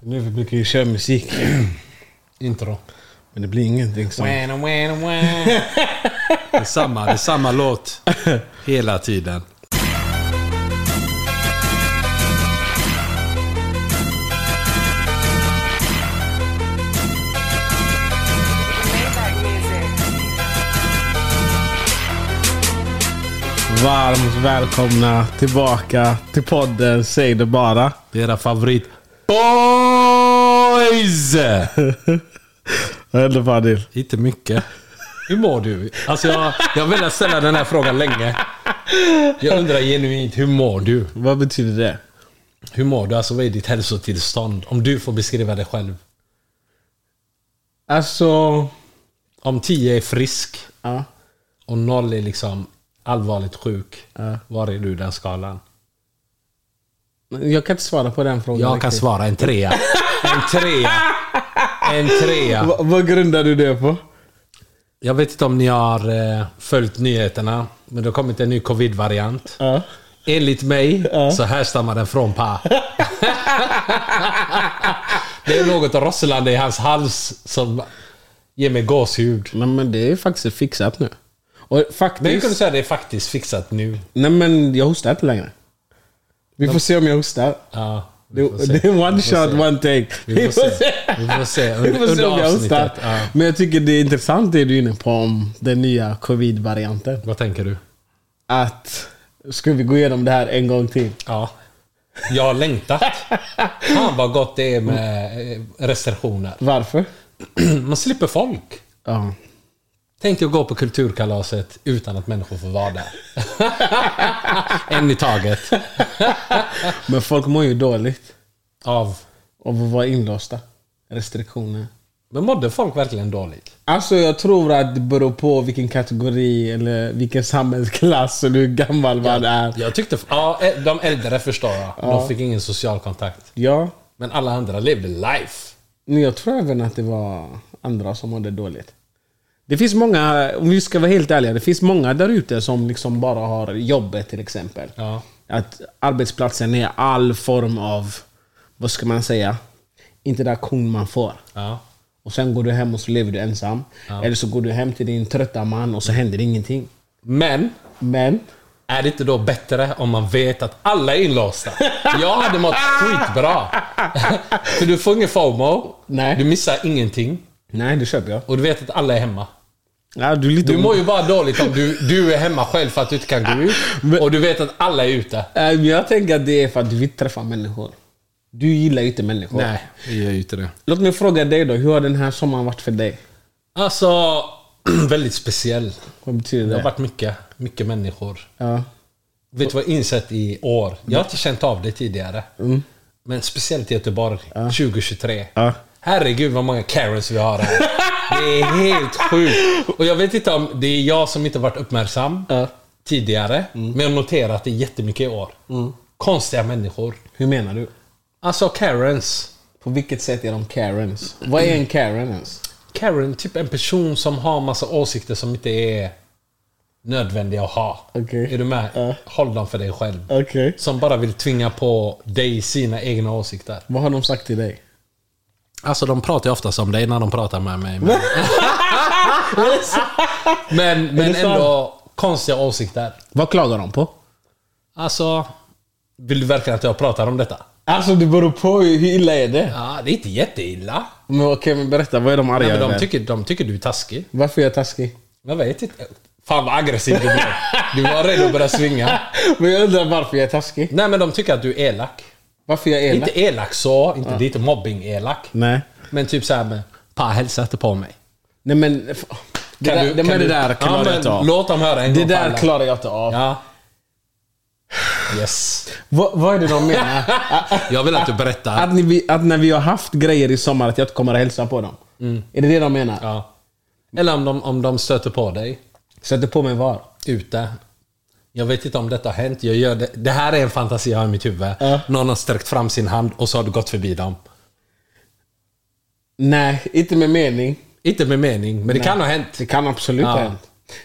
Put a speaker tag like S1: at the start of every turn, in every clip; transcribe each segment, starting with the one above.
S1: Nu brukar vi köra musik.
S2: Intro.
S1: Men det blir ingenting som...
S2: Wah, wah, wah.
S3: Det är samma, det är samma låt hela tiden.
S4: Maybach music.
S1: Varmt välkomna tillbaka till podden Säg det bara.
S3: Det är era favorit boys!
S1: Vad händer Fadil?
S3: Inte mycket. Hur mår du? Alltså jag, jag har velat ställa den här frågan länge. Jag undrar genuint, hur mår du?
S1: Vad betyder det?
S3: Hur mår du? Alltså vad är ditt hälsotillstånd? Om du får beskriva det själv.
S1: Alltså...
S3: Om 10 är frisk
S1: Ja.
S3: och 0 är liksom allvarligt sjuk.
S1: Ja.
S3: Var är du i den skalan?
S1: Jag kan inte svara på den frågan.
S3: Jag kan
S1: riktigt.
S3: svara en trea. En trea. En trea.
S1: Va- vad grundar du det på?
S3: Jag vet inte om ni har eh, följt nyheterna, men det har kommit en ny covid-variant.
S1: Ja.
S3: Enligt mig så härstammar den från Pa. det är något rosslande i hans hals som ger mig gåshud.
S1: Nej, men det är faktiskt fixat nu. Och faktiskt...
S3: Men jag kunde säga att det är faktiskt fixat nu.
S1: Nej men jag hostar inte längre. Vi får se om jag hostar.
S3: Ja,
S1: Det
S3: vi får se.
S1: det är one
S3: Vi får
S1: shot,
S3: se.
S1: one take.
S3: Vi får se. Vi får se.
S1: Vi
S3: Under,
S1: får se om
S3: under
S1: jag hostar.
S3: avsnittet. Ja.
S1: Men jag tycker det är intressant det du är inne på om den nya covid-varianten.
S3: Vad tänker du?
S1: Att, ska vi gå igenom det här en gång till?
S3: Ja. Jag har längtat. Fan vad gott det är med eh, restriktioner.
S1: Varför?
S3: Man slipper folk.
S1: Ja.
S3: Tänk dig att gå på kulturkalaset utan att människor får vara där. en i taget.
S1: Men folk mår ju dåligt
S3: Av.
S1: av att vara inlåsta. Restriktioner.
S3: Men mådde folk verkligen dåligt?
S1: Alltså jag tror att det beror på vilken kategori eller vilken samhällsklass och hur gammal man är.
S3: Jag tyckte... Ja, eh, de äldre förstår jag. De fick ingen social kontakt.
S1: Ja.
S3: Men alla andra levde life.
S1: Men jag tror även att det var andra som mådde dåligt. Det finns många, om vi ska vara helt ärliga, det finns många där ute som liksom bara har jobbet till exempel.
S3: Ja.
S1: Att arbetsplatsen är all form av, vad ska man säga, interaktion man får.
S3: Ja.
S1: Och sen går du hem och så lever du ensam. Eller så går du hem till din trötta man och så händer ingenting.
S3: Men,
S1: Men,
S3: är det inte då bättre om man vet att alla är inlåsta? Jag hade mått skitbra. För du får ingen FOMO.
S1: Nej.
S3: Du missar ingenting.
S1: nej det köper jag.
S3: Och du vet att alla är hemma.
S1: Ja, du är lite
S3: Du mår ju bara dåligt om du, du är hemma själv för att du inte kan gå ut. Och du vet att alla är ute.
S1: Äh, men Jag tänker att det är för att du vill träffa människor. Du gillar ju inte människor.
S3: vi gör ju inte det.
S1: Låt mig fråga dig då, hur har den här sommaren varit för dig?
S3: Alltså, väldigt speciell.
S1: Vad betyder
S3: Det
S1: det?
S3: har varit mycket, mycket människor.
S1: Ja.
S3: Vet du vad jag har insett i år? Jag har inte känt av det tidigare. Men speciellt i Göteborg 2023.
S1: Mm. Ja.
S3: Herregud vad många Karens vi har här. Det är helt sjukt. Och jag vet inte om det är jag som inte varit uppmärksam
S1: Ja. Mm.
S3: tidigare. Men jag har noterat det jättemycket i år. Konstiga människor.
S1: Hur menar du?
S3: Alltså Karens.
S1: På vilket sätt är de Karens? Vad är en Karen ens?
S3: Karen, typ en person som har massa åsikter som inte är nödvändiga att ha.
S1: Okej.
S3: Är du med?
S1: Ja.
S3: Håll dem för dig själv.
S1: Okej.
S3: Som bara vill tvinga på dig sina egna åsikter.
S1: Vad har de sagt till dig?
S3: Alltså de pratar ju oftast om dig när de pratar med mig. Men, men, men
S1: det sant?
S3: ändå konstiga åsikter.
S1: Vad klagar de på?
S3: Alltså, vill du verkligen att jag pratar om detta?
S1: Alltså det beror på hur hur illa är det?
S3: Ja, det är inte jätteilla.
S1: Men okej, men berätta. Vad är de arga
S3: Nej, men de,
S1: över?
S3: tycker, de tycker du är taskig.
S1: Varför är jag taskig?
S3: Jag vet inte. Fan vad aggressiv du blev. Du var rädd att börja svinga.
S1: men jag undrar varför jag är taskig.
S3: Nej men de tycker att du är elak.
S1: Varför jag är elak?
S3: Inte elak så, inte, det är inte mobbing-elak.
S1: Nej.
S3: Men typ såhär med Pa hälsa inte på mig.
S1: Nej men... f- Det, där, det, men det där klarar
S3: ja,
S1: jag
S3: men,
S1: inte av.
S3: Låt dem höra en
S1: Det
S3: gång för alla.
S1: där klarar jag inte av.
S3: Ja. Yes.
S1: Vad, vad är det de menar?
S3: Jag vill att du berättar.
S1: Att, ni, att när vi har haft grejer i sommar, att jag inte kommer att hälsa på dem. Är det det de menar?
S3: Ja. Eller om de, om de stöter på dig
S1: Sätter på mig var?
S3: ute. Jag vet inte om detta har hänt. Jag gör det. det här är en fantasi jag har i mitt huvud.
S1: Ja.
S3: Någon har sträckt fram sin hand och så har du gått förbi dem.
S1: Nej, inte med mening.
S3: Inte med mening, men det kan ha hänt.
S1: Det kan absolut ha
S3: Ja.
S1: hänt.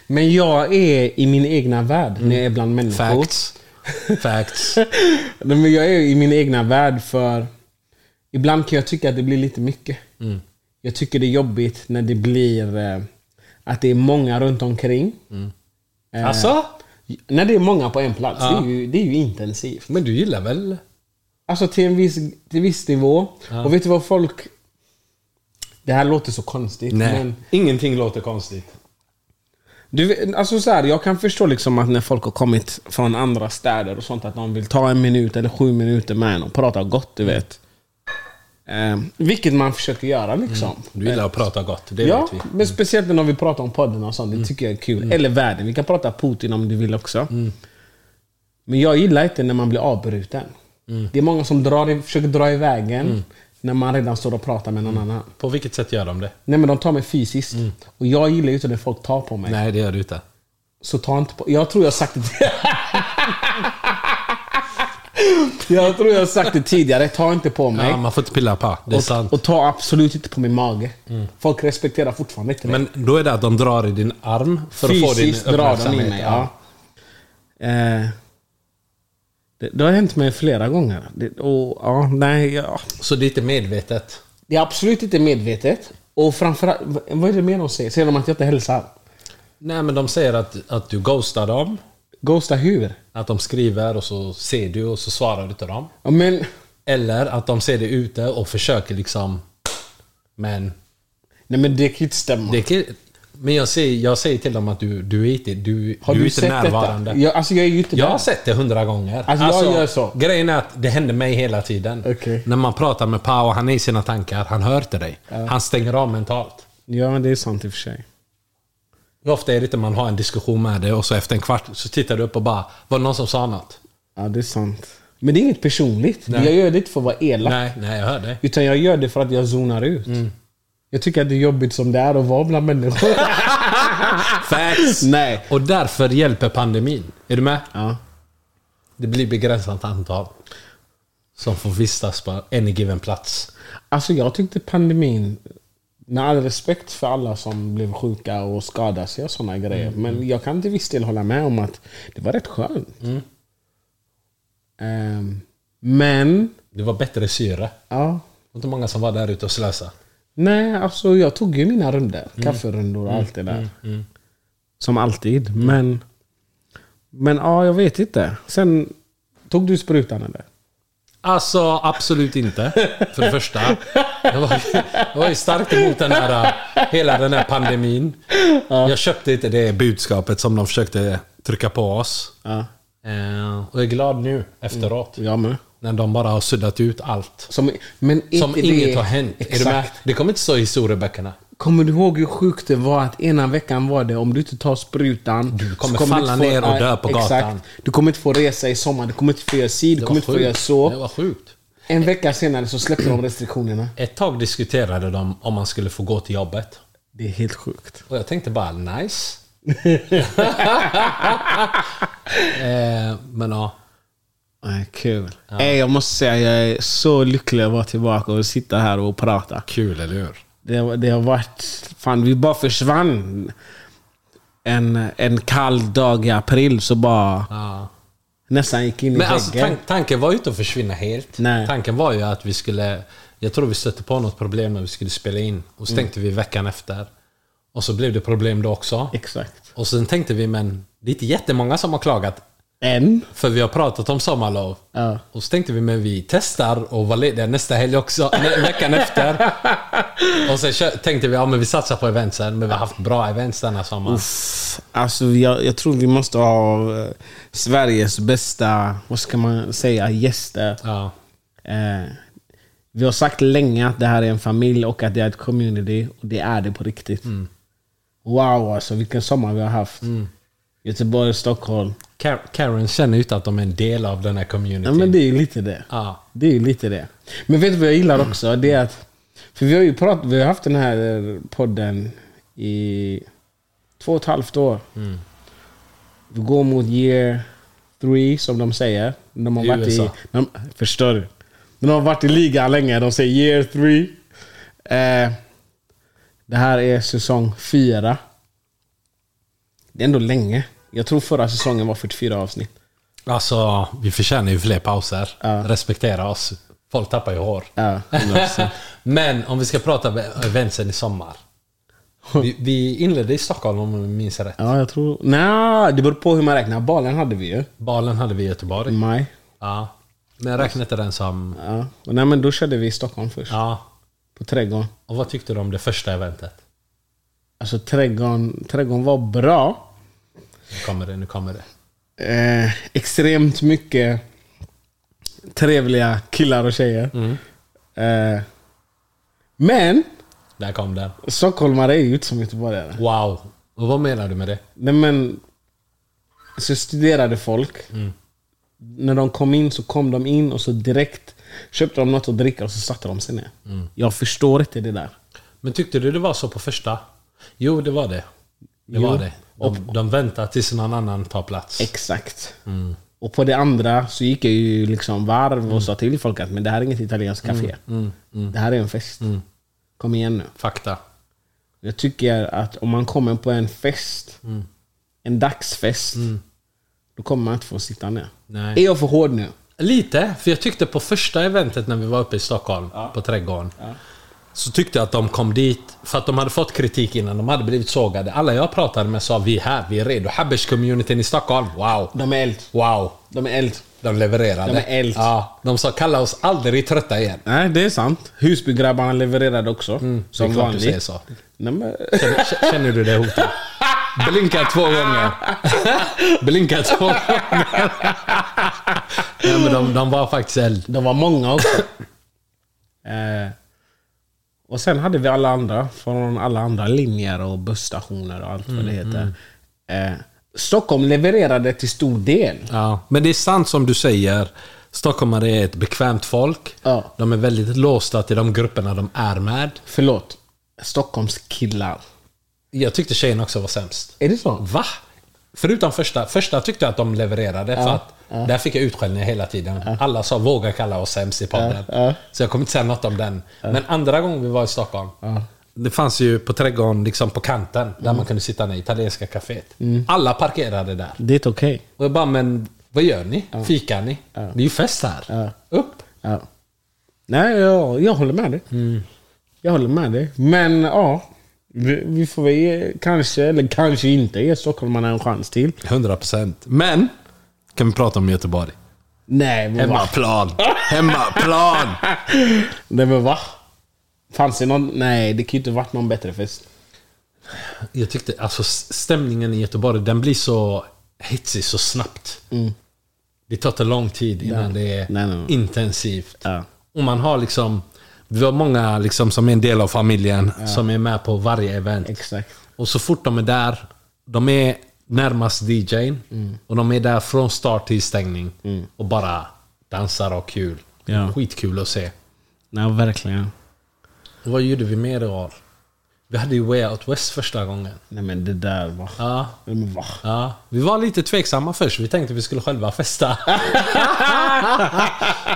S1: Men jag är i min egna värld när jag är bland människor.
S3: Facts. Facts.
S1: Nej, Men jag är i min egna värld för Ibland kan jag tycka att det blir lite mycket. Jag tycker det är jobbigt när det blir eh, att det är många runt omkring. Eh,
S3: Alltså?
S1: När det är många på en plats,
S3: Ja.
S1: det, är ju, det är ju intensivt.
S3: Men du gillar väl?
S1: Alltså till en viss, till viss nivå. Och vet du vad folk... Det här låter så konstigt. Men
S3: Ingenting låter konstigt.
S1: du, vet- alltså så här, jag kan förstå liksom att när folk har kommit från andra städer och sånt att de vill ta en minut eller sju minuter med en och prata gott, du vet. Eh, vilket man försöker göra liksom.
S3: Du gillar att prata gott, det
S1: Ja,
S3: vet vi. Mm.
S1: men speciellt när vi pratar om podden och sånt. Det tycker jag är kul. Eller världen. Vi kan prata Putin om du vill också.
S3: Mm.
S1: Men jag gillar inte när man blir avbruten.
S3: Mm.
S1: Det är många som drar, i- försöker dra iväg en när man redan står och pratar med någon annan.
S3: På vilket sätt gör de det?
S1: Nej men de tar mig fysiskt. Och jag gillar ju inte när folk tar på mig.
S3: Mm. Nej, det gör du inte.
S1: Så ta inte på... Jag tror jag har sagt det Jag tror jag har sagt det tidigare. Ta inte på mig.
S3: Ja, man får inte pilla på. Det är sant. Mm.
S1: och, och ta absolut inte på min mage. Folk respekterar fortfarande inte det.
S3: men då är det att de drar i din arm för att få din
S1: Fysiskt drar
S3: uppmärksamhet.
S1: de i mig. Ja. Eh, det, det har hänt mig flera gånger. Det, och, ja, nej, ja.
S3: Så det är inte medvetet.
S1: det är absolut inte medvetet. Och framförallt, v- vad är det mer de säger? Säger de att jag inte hälsar?
S3: Nej, men de säger att, att du ghostar dem.
S1: Ghosta hur?
S3: Att de skriver och så ser du och så svarar du till dem.
S1: Ja, men,
S3: Eller att de ser dig ute och försöker liksom... Men
S1: nej men det kan ju inte stämma.
S3: det kan, Men jag säger, jag säger till dem att du, du är inte, du,
S1: har
S3: du
S1: du,
S3: är inte
S1: sett
S3: närvarande.
S1: detta? Jag, alltså jag är ju inte
S3: Jag har
S1: där.
S3: sett det hundra gånger.
S1: Alltså, jag gör så.
S3: Grejen är att det händer mig hela tiden.
S1: Okej.
S3: När man pratar med Pau, han är i sina tankar, han hör till dig. Han stänger av mentalt.
S1: Ja, men det är sant i och för sig.
S3: Hur ofta är det inte man har en diskussion med dig och så efter en kvart så tittar du upp och bara Var det någon som sa något?
S1: Ja, det är sant. Men det är inget personligt. Jag gör det inte för att vara elak.
S3: Nej, nej jag hör dig.
S1: Utan jag gör det för att jag zonar ut. Jag tycker att det är jobbigt som det är att vara bland människor.
S3: Facts!
S1: Nej.
S3: Och därför hjälper pandemin. Är du med?
S1: Ja.
S3: Det blir begränsat antal som får vistas på en given plats.
S1: Alltså jag tyckte pandemin, med all respekt för alla som blev sjuka och skadade sig och sådana grejer. Men jag kan till viss del hålla med om att det var rätt skönt. Ehm, men,
S3: Det var bättre syre. Det
S1: ja.
S3: var inte många som var där ute och slösade.
S1: Nej, alltså jag tog ju mina runder.
S3: Mm.
S1: Kafferundor och allt det där. Som alltid.
S3: Mm.
S1: Men, men ja, jag vet inte. Sen, tog du sprutan eller?
S3: Alltså absolut inte, för det första. Jag var, jag var ju starkt emot den här, hela den här pandemin. Jag köpte inte det budskapet som de försökte trycka på oss.
S1: Ja.
S3: Eh, Och jag är glad nu efteråt.
S1: Jag med.
S3: När de bara har suddat ut allt.
S1: Som, men
S3: Som
S1: inte
S3: inget
S1: det-
S3: har hänt. Är du med?
S1: Exakt.
S3: Det kommer inte stå i historieböckerna.
S1: Kommer du ihåg hur sjukt det var att ena veckan var det om du inte tar sprutan. Du
S3: kommer falla ner och dö på gatan.
S1: Du kommer inte få resa i sommar, du kommer inte få göra si, du kommer inte få göra
S3: Det
S1: så.
S3: var sjukt.
S1: En vecka senare så släppte de restriktionerna.
S3: Ett tag diskuterade de om man skulle få gå till jobbet.
S1: Det är helt sjukt.
S3: Och jag tänkte bara nice. eh, men ja.
S1: Nej, kul. Nej, jag måste säga jag är så lycklig att vara tillbaka och sitta här och prata.
S3: Kul, eller hur?
S1: Det, det har varit... Fan, vi bara försvann. En, en kall dag i april så bara...
S3: Ja.
S1: Nästan gick in i
S3: Men
S1: väggen.
S3: alltså, tan- tanken var ju inte att försvinna helt.
S1: Nej.
S3: Tanken var ju att vi skulle... Jag tror vi stötte på något problem när vi skulle spela in. Och
S1: Mm.
S3: så tänkte vi veckan efter. Och så blev det problem då också.
S1: Exakt.
S3: Och sen tänkte vi, men det är inte jättemånga som har klagat.
S1: En.
S3: För vi har pratat om sommarlov.
S1: Ja.
S3: Och så tänkte vi, men vi testar och var lediga nästa helg också. Nej, veckan efter. Och sen kö- tänkte vi, ja men vi satsar på eventsen. Men vi har haft bra events denna sommaren.
S1: Uff, Alltså, jag, jag tror vi måste ha eh, Sveriges bästa, vad ska man säga, gäster.
S3: Ja.
S1: Eh, vi har sagt länge att det här är en familj och att det är ett community. Och det är det på riktigt. Wow alltså, vilken sommar vi har haft. Göteborg, Stockholm.
S3: Kar- Karen känner ju inte att de är en del av den här
S1: Ja,
S3: communityn.
S1: men det är ju lite det.
S3: Ja.
S1: Det är ju lite det. Men vet du vad jag gillar också? Det är att, för vi har ju pratat, vi har haft den här podden i två och ett halvt år.
S3: Mm.
S1: Vi går mot year three, som de säger. De har
S3: I
S1: varit i,
S3: USA.
S1: de, förstår du? De har varit i ligan länge. De säger year three. Eh, det här är säsong fyra. Det är ändå länge. Jag tror förra säsongen var 44 avsnitt.
S3: Alltså, vi förtjänar ju fler pauser. Respektera oss. Folk tappar ju hår.
S1: Ja.
S3: Men om vi ska prata om eventsen i sommar. Vi, vi inledde i Stockholm om jag minns rätt.
S1: Ja, jag tror... Nej, det beror på hur man räknar. Balen hade vi ju.
S3: Balen hade vi i Göteborg.
S1: I maj.
S3: Ja. Men jag räknade inte den som...
S1: Ja. Och nej, men då körde vi i Stockholm först.
S3: Ja.
S1: På Trädgården.
S3: Och vad tyckte du om det första eventet?
S1: Alltså trädgården, trädgården var bra.
S3: Nu kommer det, nu kommer det.
S1: Eh, extremt mycket trevliga killar och tjejer. Eh, men
S3: Där kom den.
S1: stockholmare är ju inte som göteborgare.
S3: Wow! Och vad menar du med det?
S1: Nej men, så studerade folk. När de kom in så kom de in och så direkt köpte de något att dricka och så satte de sig ner. Jag förstår inte det där.
S3: Men tyckte du det var så på första? Jo, det var det. Det
S1: Jo.
S3: var det. De, de väntar tills någon annan tar plats.
S1: Exakt.
S3: Mm.
S1: Och på det andra så gick jag ju liksom varv och sa till folk att men det här är inget italienskt
S3: Mm.
S1: café. Det här är en fest. Kom igen nu.
S3: Fakta.
S1: Jag tycker att om man kommer på en fest,
S3: Mm.
S1: en dagsfest, då kommer man inte få sitta ner.
S3: Nej.
S1: Är jag för hård nu?
S3: Lite, för jag tyckte på första eventet när vi var uppe i Stockholm, på Trädgården. Så tyckte jag att de kom dit, för att de hade fått kritik innan, de hade blivit sågade. Alla jag pratade med sa vi är här, vi är redo. Habbers-communityn i Stockholm, wow!
S1: De är eld.
S3: Wow!
S1: De är eld.
S3: De levererade.
S1: De är eld.
S3: Ja, de sa kalla oss aldrig trötta igen.
S1: Nej, det är sant. Husbygrabbarna levererade också.
S3: Mm. det
S1: som
S3: är klart du säger
S1: vanligt.
S3: så.
S1: Nej, men...
S3: Känner, känner du dig hotad? Blinka två gånger. Blinka två gånger. Nej, men de, de var faktiskt eld.
S1: De var många också. eh, och sen hade vi alla andra från alla andra linjer och busstationer och allt vad det heter. Eh, Stockholm levererade till stor del.
S3: Ja, men det är sant som du säger. Stockholmare är ett bekvämt folk.
S1: Ja.
S3: De är väldigt låsta till de grupperna de är med.
S1: Förlåt. Stockholms killar.
S3: Jag tyckte tjejerna också var sämst.
S1: Är det så?
S3: Va? Förutom första. Första tyckte jag att de levererade. För att Där fick jag utskällningar hela tiden. Alla sa våga kalla oss sämst i podden. Så jag kommer inte säga något om den. Men andra gången vi var i Stockholm. Det fanns ju på trädgården liksom på kanten. Där
S1: Mm.
S3: man kunde sitta ner. Italienska caféet. Alla parkerade där.
S1: Det är okej.
S3: Och jag bara, men vad gör ni? Fikar ni? Det är ju fest här. Upp!
S1: Ja. Nej, jag, jag håller med dig. Jag håller med dig. Men ja, vi, vi får väl ge, kanske, eller kanske inte, ge stockholmarna en chans till.
S3: 100%. Men! Kan vi prata om Göteborg?
S1: Nej, men va?
S3: Hemmaplan! Hemmaplan!
S1: Nej, men va? Fanns det någon? Nej, det kan ju inte varit någon bättre fest.
S3: Jag tyckte alltså s- stämningen i Göteborg, den blir så hetsig så snabbt. Det tar inte lång tid innan det är
S1: Mm. Nej, nej, nej.
S3: intensivt.
S1: Ja.
S3: Och man har liksom, vi har många liksom som är en del av familjen som är med på varje event.
S1: Exakt.
S3: Och så fort de är där, de är närmast DJn
S1: Mm.
S3: och de är där från start till stängning och bara dansar och har kul.
S1: Ja.
S3: Skitkul att se.
S1: Nej, verkligen.
S3: Och vad gjorde vi mer i år? Vi hade ju Way Out West första gången.
S1: Nej, men det där va?
S3: Ja,
S1: Nej, men va?
S3: Ja, vi var lite tveksamma först. Vi tänkte vi skulle själva festa.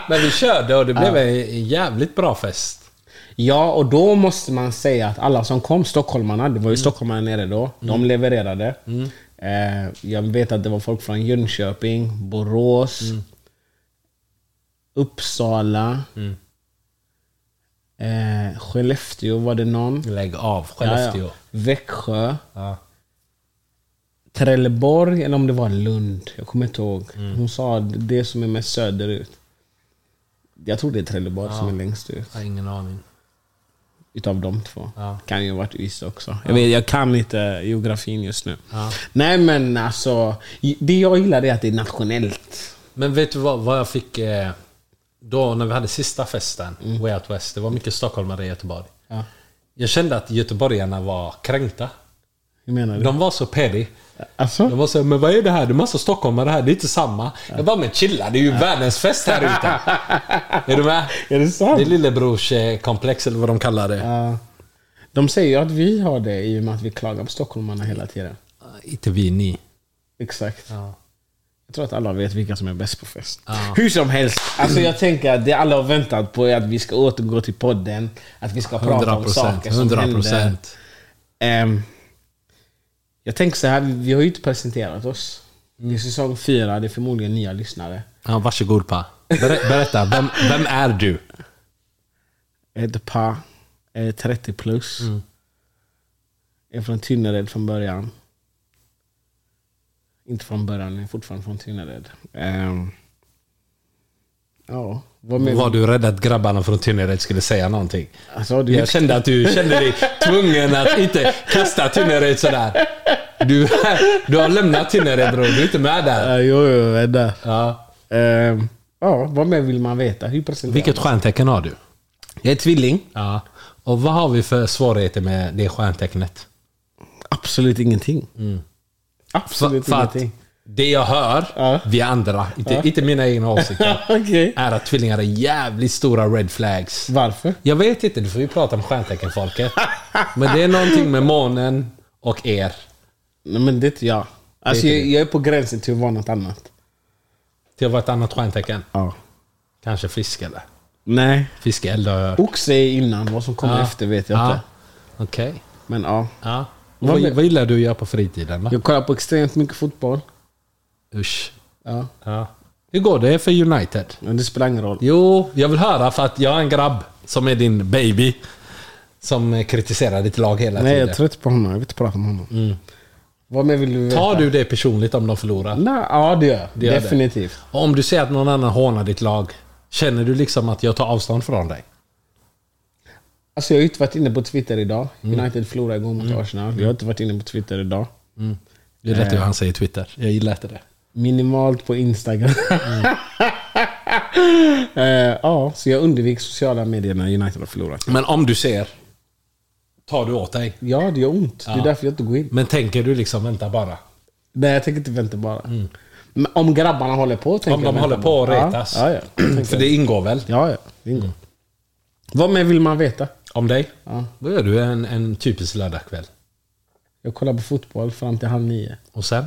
S3: Men vi körde och det blev en jävligt bra fest.
S1: Ja, och då måste man säga att alla som kom, stockholmarna, det var ju stockholmarna nere då, de levererade. Eh, jag vet att det var folk från Jönköping, Borås, Uppsala, eh, Skellefteå var det någon.
S3: Lägg av,
S1: Ja,
S3: Skellefteå.
S1: ja. Växjö,
S3: Ja.
S1: Trelleborg, eller om det var Lund. Jag kommer inte ihåg.
S3: Mm.
S1: Hon sa det som är mest söderut. Jag tror det är Trelleborg som är längst ut.
S3: Jag har ingen aning.
S1: Utav de två.
S3: Ja.
S1: Kan ju ha varit Ystad också. Jag, vet, jag kan inte geografin just nu. Nej men alltså, det jag gillar är att det är nationellt.
S3: Men vet du vad, vad jag fick eh, då när vi hade sista festen, Way Out West. Det var mycket stockholmare i Göteborg.
S1: Ja.
S3: Jag kände att göteborgarna var kränkta.
S1: Hur menar du?
S3: De var så petty.
S1: Alltså?
S3: De var såhär, men vad är det här? Det är massa stockholmare här, det är inte samma. Jag bara, men chilla, det är ju världens fest här ute. är du med?
S1: Är det sant?
S3: Det är lillebrorskomplex eller vad de kallar det.
S1: Ja. de säger ju att vi har det i och med att vi klagar på stockholmarna hela tiden.
S3: Inte vi, ni.
S1: Exakt.
S3: Ja.
S1: Jag tror att alla vet vilka som är bäst på fest. Hur som helst, alltså jag tänker att det alla har väntat på är att vi ska återgå till podden. Att vi ska prata
S3: 100
S1: om saker som
S3: 100
S1: händer. Ehm, jag tänker så här, vi har ju inte presenterat oss. Det är säsong fyra, det är förmodligen nya lyssnare.
S3: Ja, varsågod pa. Ber- Berätta, vem, vem är du?
S1: Ett par. Jag är 30 plus. Jag är från Tynnered från början. Inte från början, jag är fortfarande från Tynnered. Ehm, ja, vad menar
S3: Var du rädd att grabbarna från Tynnered skulle säga någonting?
S1: Alltså, du?
S3: Jag kände att du kände dig tvungen att inte kasta Tynnered sådär. Du, du har lämnat Tynnered bror, du är inte med där.
S1: Ja, Eh, jo, jo, vänta.
S3: Ja.
S1: Ehm, ja, vad mer vill man veta? Hur presenterar
S3: Vilket
S1: man?
S3: stjärntecken har du?
S1: Jag är tvilling.
S3: Ja. Och vad har vi för svårigheter med det stjärntecknet?
S1: Absolut ingenting.
S3: För,
S1: Mm. Absolut
S3: för att
S1: ingenting.
S3: det jag hör,
S1: Ja.
S3: vi andra, inte, inte mina egna åsikter,
S1: Okej.
S3: är att tvillingar är jävligt stora red flags.
S1: Varför?
S3: Jag vet inte, du får ju prata om stjärnteckenfolket. Men det är någonting med månen och er.
S1: Nej, men det är inte jag. Alltså,
S3: Det är
S1: jag,
S3: inte
S1: jag är på gränsen till att vara något annat.
S3: Till att vara ett annat stjärntecken.
S1: Ja.
S3: Kanske fisk eller?
S1: Nej.
S3: Fiskeld har jag hört.
S1: Oxe är innan, vad som kommer efter vet jag
S3: Ja.
S1: inte.
S3: Okej.
S1: Men ja.
S3: Ja. Och
S1: Vad
S3: Vad,
S1: med-
S3: vad gillar du att göra på fritiden? Då?
S1: Jag kollar på extremt mycket fotboll.
S3: Usch.
S1: Ja.
S3: Ja. Hur går det för United?
S1: Men det spelar ingen roll.
S3: Jo, jag vill höra för att jag har en grabb som är din baby. Som kritiserar ditt lag hela
S1: Nej, jag är Mm.
S3: tiden.
S1: trött på honom. Jag vill inte prata om honom. Vad mer vill du veta?
S3: Tar du det personligt om de förlorar?
S1: Nej, ja, det gör jag.
S3: Det gör det.
S1: Definitivt.
S3: Och Om du ser att någon annan hånar ditt lag, känner du liksom att jag tar avstånd från dig?
S1: Alltså jag har ju inte varit inne på Twitter idag. United förlorade igår mot Arsenal. Mm. Jag har inte varit inne på Twitter idag.
S3: Det är rätt vad han säger i Twitter. Jag gillar inte det.
S1: Minimalt på Instagram. Mm. Eh, ja, så jag undvek sociala medier när United har förlorat.
S3: Men om du ser, tar du åt dig.
S1: Ja, det gör ont. Det
S3: Ja.
S1: är därför jag inte går in.
S3: Men tänker du liksom, vänta bara.
S1: Nej, jag tänker inte vänta bara. Men Mm. om grabbarna håller på Mm. tänker
S3: Om de
S1: jag vänta
S3: håller på och
S1: bara.
S3: retas.
S1: Ja, ja, ja. Jag tänker-
S3: För det ingår väl?
S1: ja, ja. Det ingår. Vad mer vill man veta?
S3: Om dig?
S1: Ja.
S3: Vad gör du en, en typisk lördagkväll?
S1: Jag kollar på fotboll fram till halv nio.
S3: Och sen?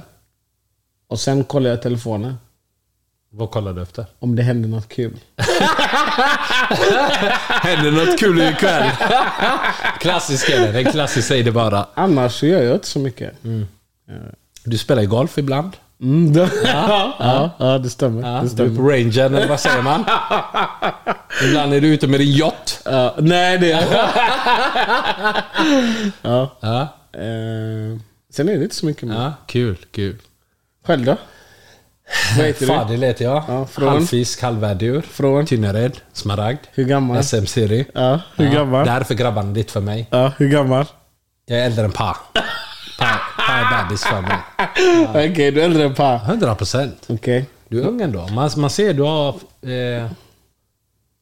S1: Och sen kollar jag telefonen.
S3: Vad kollar du efter?
S1: Om det händer något kul.
S3: Händer något kul ikväll? klassisk är det. En klassisk säger det bara.
S1: Annars så gör jag inte så mycket.
S3: Du spelar ju golf ibland.
S1: Mm, då- ja, ja, ja, det stämmer. det
S3: du är
S1: stämmer.
S3: på rangen, eller vad säger man? ibland är du ute med din yacht.
S1: Ja, nej, det är ja.
S3: Ja,
S1: eh, Sen är det inte så mycket mer.
S3: ja kul, kul.
S1: Själv då? Vad heter du?
S3: Fadel heter jag.
S1: Ja, från?
S3: Halvfisk, halvvädur.
S1: Från?
S3: Tynnered, Smaragd.
S1: Hur gammal?
S3: SM Siri.
S1: Ja, hur gammal?
S3: Det här är för grabbarna, ditt för mig.
S1: Ja, hur gammal?
S3: Jag är äldre än Pa. Pa, pa är bebis för mig.
S1: Okej, du är äldre än Pa.
S3: 100 procent.
S1: Okej.
S3: Du är ung ändå. Man, man ser du har... Eh,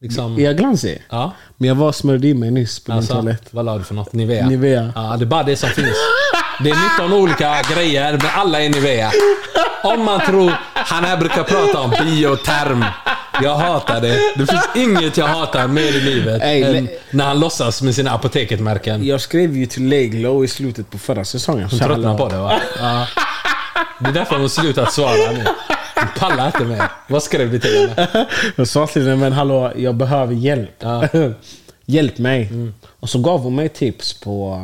S3: liksom...
S1: Är jag glansig?
S3: Ja.
S1: Men jag var och smörjde in mig nyss på min
S3: Alltså,
S1: toalett.
S3: vad la du för något? Nivea?
S1: Nivea.
S3: Ja, det är bara det som finns. Det är 19 olika grejer, men alla är Nivea. Om man tror... Han här brukar prata om bioterm. Jag hatar det. Det finns inget jag hatar mer i livet
S1: Ey,
S3: än
S1: le-
S3: när han låtsas med sina Apoteket-märken.
S1: Jag skrev ju till Leglo i slutet på förra säsongen.
S3: Hon tröttnar på det va? Ja. Det är därför hon slutat svara nu. Hon pallar inte med. Vad skrev du till henne?
S1: Jag sa till henne, men hallå, jag behöver hjälp.
S3: Ja. Mm.
S1: hjälp mig. Och så gav hon mig tips på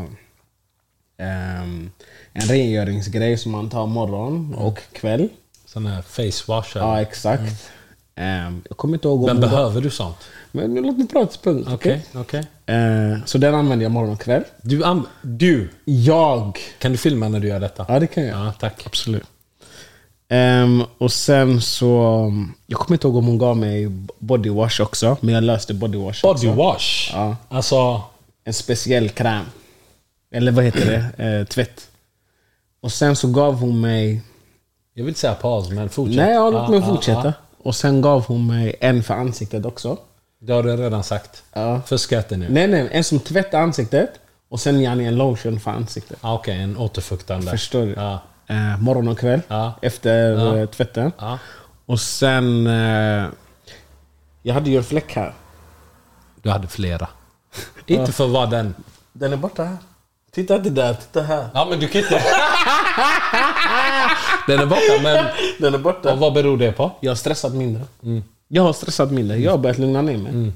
S1: ehm, en rengöringsgrej som man tar
S3: Mm.
S1: morgon och kväll.
S3: Sån här face wash. eller?
S1: Ja, exakt. Ehm, jag kommer inte ihåg
S3: Mm. Men
S1: om hon gav-
S3: behöver du sånt?
S1: Men nu låt mig prata till punkt.
S3: Okej,
S1: okej?
S3: okej.
S1: Ehm, så den använder jag morgon och kväll.
S3: Du, an- du,
S1: Jag.
S3: kan du filma när du gör detta?
S1: Ja, det kan jag.
S3: Ja, tack.
S1: Absolut. Ehm, och sen så... Jag kommer inte ihåg om hon gav mig bodywash också, men jag löste bodywash
S3: Body wash.
S1: Ja.
S3: Alltså,
S1: en speciell kräm. Eller vad heter det? Eh, tvätt. Och sen så gav hon mig...
S3: jag vill inte säga paus, men fortsätt.
S1: Nej, ja,
S3: Ja,
S1: låt mig
S3: ja,
S1: fortsätta.
S3: ja.
S1: Och sen gav hon mig en för ansiktet också.
S3: Det har du redan sagt.
S1: Ja.
S3: Fuska inte nu.
S1: Nej, nej, en som tvättar ansiktet och sen gärna en lotion för ansiktet.
S3: Ja, Ah, Okej, en återfuktande.
S1: Förstår du?
S3: Ja.
S1: Eh, morgon och kväll
S3: Ja.
S1: efter eh, tvätten.
S3: Ja.
S1: Och sen... Eh, jag hade ju en fläck här.
S3: Du hade flera. inte för vad den...
S1: Den är borta här. Titta inte där, titta här.
S3: Ja, men du kan inte... den är borta, men
S1: Den är
S3: vad,
S1: borta.
S3: vad beror det på?
S1: Jag har stressat mindre.
S3: Mm.
S1: Jag har stressat mindre. Jag har börjat lugna ner mig.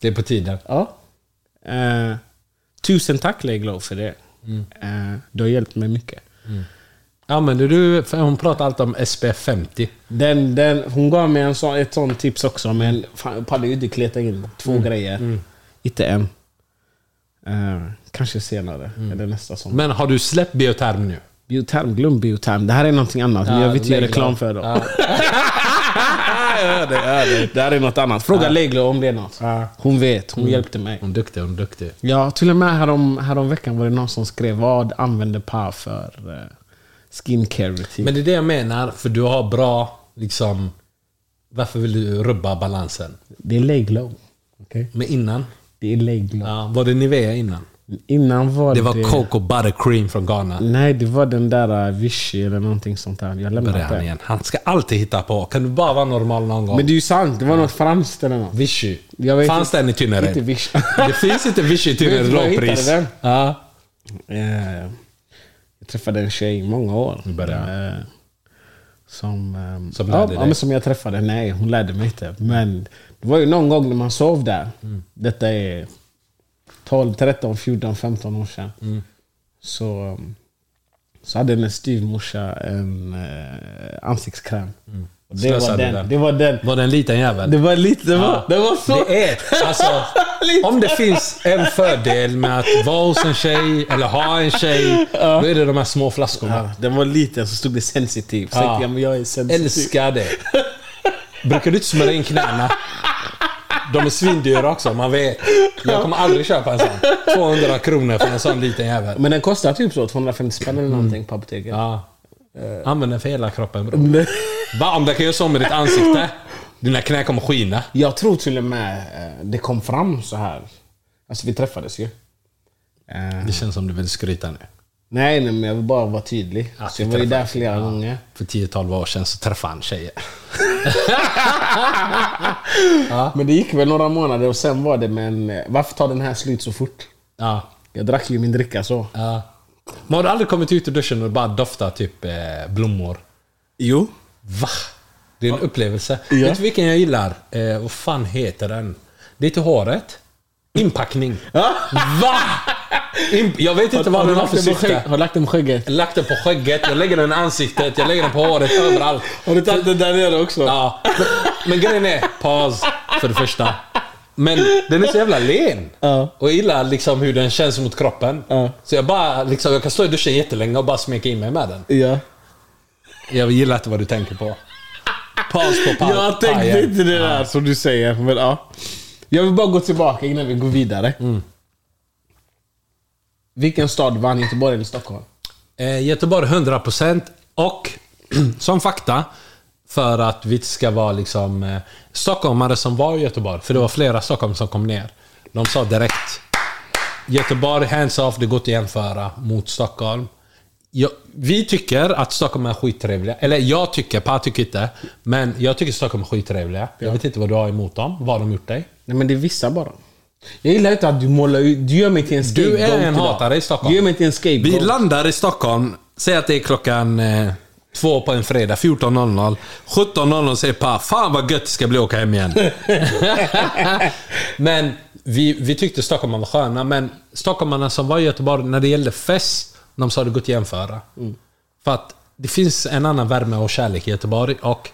S3: Det är på tiden.
S1: Ja. Eh,
S3: Mm.
S1: tusen tack Leglo för det. Eh, du har hjälpt mig mycket.
S3: Använder du... för Hon pratar alltid om SPF 50.
S1: Den, den, hon gav mig en sån, ett sånt tips också, men fan, jag pallar ju inte kleta in två
S3: Mm.
S1: grejer. Inte än. Eh, kanske senare,
S3: Mm.
S1: eller nästa sommar.
S3: Men har du släppt bioterm nu?
S1: Bioterm, glöm bioterm. Det här är någonting annat.
S3: Ja,
S1: jag vill inte göra
S3: Leglo.
S1: reklam för dem.
S3: Ja.
S1: det, här är något annat. Fråga Leglo om det är något. Hon vet, hon
S3: Mm.
S1: hjälpte mig.
S3: Hon är duktig, hon är duktig.
S1: Ja, till och med härom, häromveckan var det någon som skrev vad använder Pa för eh, skincare routine.
S3: Men det är det jag menar, för du har bra liksom... Varför vill du rubba balansen?
S1: det är Leglo.
S3: Men innan?
S1: Det är Leglo.
S3: Ja, var det Nivea innan?
S1: Innan var det... Mm.
S3: Det var Coco Buttercream från Ghana.
S1: Nej, det var den där eh, Vichy eller någonting sånt där. Jag lämnade
S3: Börjar han
S1: det.
S3: igen. Han ska alltid hitta på. Kan du bara vara normal någon gång?
S1: Men det är ju sant, det var något franskt eller något.
S3: Vichy.
S1: Jag vet
S3: Fanns
S1: inte-
S3: den i Tynnered?
S1: Inte Vichy.
S3: Det finns inte Vichy i
S1: Vet
S3: Tynnered
S1: du var jag
S3: lågpris.
S1: hittade den?
S3: Ja.
S1: Eh, Jag träffade en tjej i många år.
S3: börjar.
S1: Eh, Som, ehm,
S3: Som
S1: ja,
S3: lärde
S1: ja,
S3: dig.
S1: men som jag träffade. Nej, hon lärde mig inte. Men det var ju någon gång när man sov där.
S3: Mm.
S1: Detta är 12, 13, 14, 15 år sedan.
S3: Mm.
S1: Så, ehm, så hade hennes styvmorsa en eh, ansiktskräm. Och det, var
S3: Mm. Slösade
S1: den,
S3: den.
S1: det var den.
S3: Var det en liten jävel?
S1: Det var lite... Det var,
S3: Ja.
S1: det var så...
S3: Det är, alltså,
S1: Lite.
S3: om det finns en fördel med att vara hos en tjej eller ha en tjej, då är det de här små flaskorna.
S1: Ja, den var liten, så stod det sensitiv. Så
S3: Ja.
S1: tänkte jag, men jag är sensitiv.
S3: Älskar det. Brukar du inte smörja in knäna? De är svindyra också, man vet. Jag kommer aldrig köpa en sån. 200 kronor för en sån liten jävel.
S1: Men den kostar typ så 250 spänn
S3: Mm.
S1: eller någonting på apoteket.
S3: Ja. Använd den för hela kroppen bror. Va? Om det kan göra så med ditt ansikte? Dina knän kommer skina.
S1: Jag tror till och med eh, det kom fram så här. Alltså vi träffades ju. Eh,
S3: Det känns som du vill skryta nu.
S1: nej, nej, men jag vill bara vara tydlig.
S3: Ja,
S1: så jag
S3: vi
S1: var ju där
S3: träffades.
S1: flera gånger.
S3: För 10-12 år sedan så träffade han tjejer.
S1: Men det gick väl några månader och sen var det men eh, varför tar den här slut så fort?
S3: Ja.
S1: Jag drack ju min dricka så.
S3: Ja. Men har du aldrig kommit ut ur duschen och bara doftat typ eh, blommor?
S1: Jo.
S3: Va? Det är en upplevelse.
S1: Ja.
S3: Vet du vilken jag gillar? Eh, vad fan heter den? Det är till håret. Inpackning. Va? Imp- jag vet inte vad den har för syfte.
S1: Har du lagt den på skägget?
S3: Jag lagt den på skägget, jag lägger den i ansiktet, jag lägger den på håret, överallt.
S1: Har du tagit den där nere också?
S3: Ja. Men, men grejen är, paus för det första. Men den är så jävla len.
S1: Ja.
S3: Och jag gillar liksom hur den känns mot kroppen.
S1: Ja.
S3: Så jag bara liksom, jag kan stå i duschen jättelänge och bara smeka in mig med den.
S1: Ja.
S3: Jag gillar inte vad du tänker på. Paus på paus.
S1: Jag tänkte
S3: pajen.
S1: inte det där som du säger. Men, ja. Jag vill bara gå tillbaka innan vi går vidare.
S3: Mm.
S1: Vilken stad vann Göteborg eller Stockholm?
S3: Eh, Göteborg 100% och som fakta för att vi inte ska vara liksom eh, stockholmare som var i Göteborg. För det var flera Stockholm som kom ner. De sa direkt Göteborg, hands off, det går inte att jämföra mot Stockholm. Jag, vi tycker att Stockholm är skittrevliga. Eller jag tycker, Pa tycker inte. Men jag tycker Stockholm är skittrevliga. Jag vet inte vad du har emot dem, vad de gjort dig.
S1: Nej men det är vissa bara. Jag gillar inte att du målar ut... Du gör mig till en scapegoat
S3: Du är en
S1: idag.
S3: hatare i Stockholm.
S1: Du gör mig till en scapegoat.
S3: Vi landar i Stockholm, säg att det är klockan eh, två på en fredag, 14.00. 17.00 säger Pa, fan vad gött det ska bli att åka hem igen. men vi, vi tyckte stockholmarna var sköna, men stockholmarna som var i Göteborg, när det gällde fest, de sa det går inte att jämföra. För att det finns en annan värme och kärlek i Göteborg. Och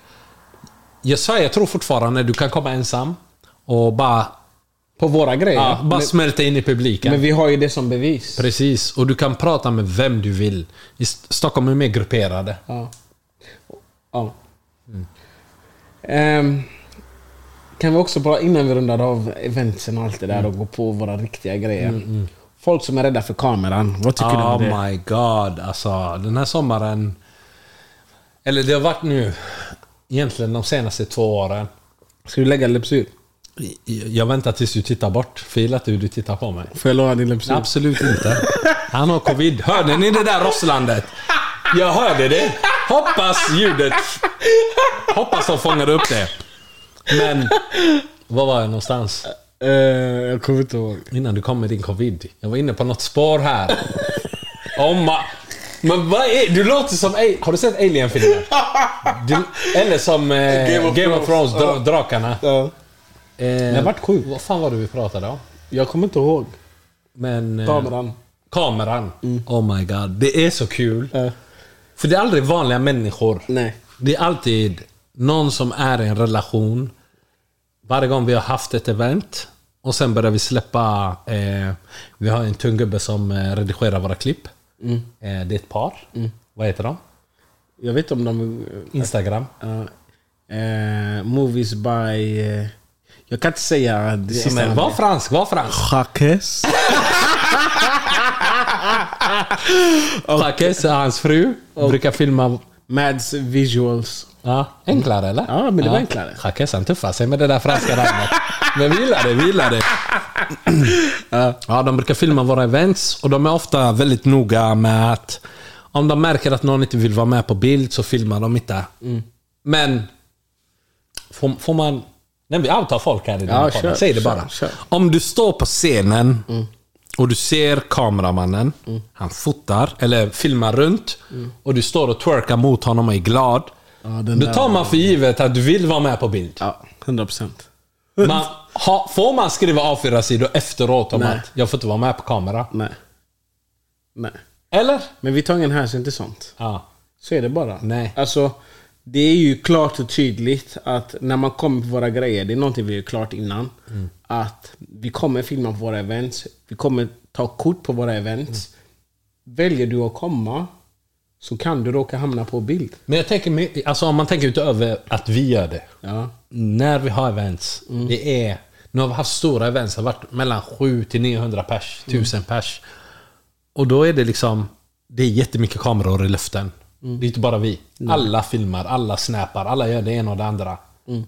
S3: jag, sa, jag tror fortfarande du kan komma ensam och bara,
S1: På våra grejer.
S3: ja, bara smälta in i publiken.
S1: men, men vi har ju det som bevis.
S3: Precis, och du kan prata med vem du vill. I St- Stockholm är mer grupperade.
S1: Ja. ja. Ehm, kan vi också bara innan vi rundar av eventsen och allt det där och går på våra riktiga grejer. Folk som är rädda för kameran, vad tycker du om Ah, det?
S3: Oh my god, alltså den här sommaren... Eller det har varit nu, egentligen de senaste två åren.
S1: Ska du lägga lepsyl?
S3: I- Jag väntar tills du tittar bort, för jag gillar inte hur du tittar på mig.
S1: Får jag låna din lepsyl?
S3: Absolut inte. Han har covid. Hörde ni det där rosslandet? Jag hörde det. Hoppas ljudet... Hoppas de fångade upp det. Men... Var var jag någonstans?
S1: Eh, jag kommer inte ihåg.
S3: Innan du kom med din covid. Jag var inne på något spår här. Oh my. Men vad är... Du låter som... A- Har du sett Alien-filmer? Du- Eller som eh, Game of Thrones, dra- drakarna.
S1: Ja.
S3: Eh,
S1: Jag vart sjuk.
S3: Vad fan var det vi pratade om?
S1: Jag kommer inte ihåg.
S3: Men... eh,
S1: Kameran. Mm.
S3: Kameran. Oh my god. Det är så kul.
S1: Eh,
S3: För det är aldrig vanliga människor.
S1: Nej.
S3: Det är alltid någon som är i en relation. Varje gång vi har haft ett event och sen börjar vi släppa... Eh, vi har en tung gubbe som eh, redigerar våra klipp.
S1: Mm.
S3: Eh, det är ett par. Vad heter de?
S1: Jag vet om de...
S3: Instagram.
S1: ja, eh, movies by... eh, jag kan inte säga det
S3: Som
S1: sista
S3: är, var
S1: namnet.
S3: fransk, var fransk.
S5: Jacques.
S3: Takes, hans fru, brukar filma
S1: Mads visuals.
S3: Ja, enklare eller?
S1: Ja, men det var enklare.
S3: Jacques han tuffar sig med det där franska namnet. Men vi gillar det, vi gillar det. Ja, de brukar filma våra events och de är ofta väldigt noga med att om de märker att någon inte vill vara med på bild så filmar de inte.
S1: Mm.
S3: Men får, får man... Nej, vi outar folk här i den
S1: Ja,
S3: här podden.
S1: kör,
S3: Säg det
S1: kör,
S3: bara.
S1: kör. Mm.
S3: Om du står på scenen och du ser kameramannen, han fotar eller filmar runt och du står och twerkar mot honom och är glad.
S1: Mm. Ja, den
S3: Då
S1: där-
S3: tar man för givet att du vill vara med på bild.
S1: Ja, 100 procent.
S3: Man, ha, får man skriva A4-sidor efteråt om
S1: Nej.
S3: att jag får inte vara med på kamera?
S1: Nej. Nej.
S3: Eller?
S1: Men vi tar ingen hänsyn till sånt.
S3: Ja.
S1: Så är det bara.
S3: Nej.
S1: Alltså, det är ju klart och tydligt att när man kommer på våra grejer, det är någonting vi har klart innan.
S3: Mm.
S1: Att vi kommer filma på våra events, vi kommer ta kort på våra events.
S3: Mm.
S1: Väljer du att komma så kan du råka hamna på bild.
S3: Men jag tänker, med- alltså om man tänker utöver att vi gör det.
S1: Ja.
S3: När vi har events,
S1: Mm.
S3: det är... Nu har vi haft stora events, det har varit mellan 7 till 900 pers,
S1: Mm.
S3: 1000 pers. Och då är det liksom... Det är jättemycket kameror i luften.
S1: Mm.
S3: Det är inte bara vi. Alla filmar, alla snappar, alla gör det ena och det andra.
S1: Mm.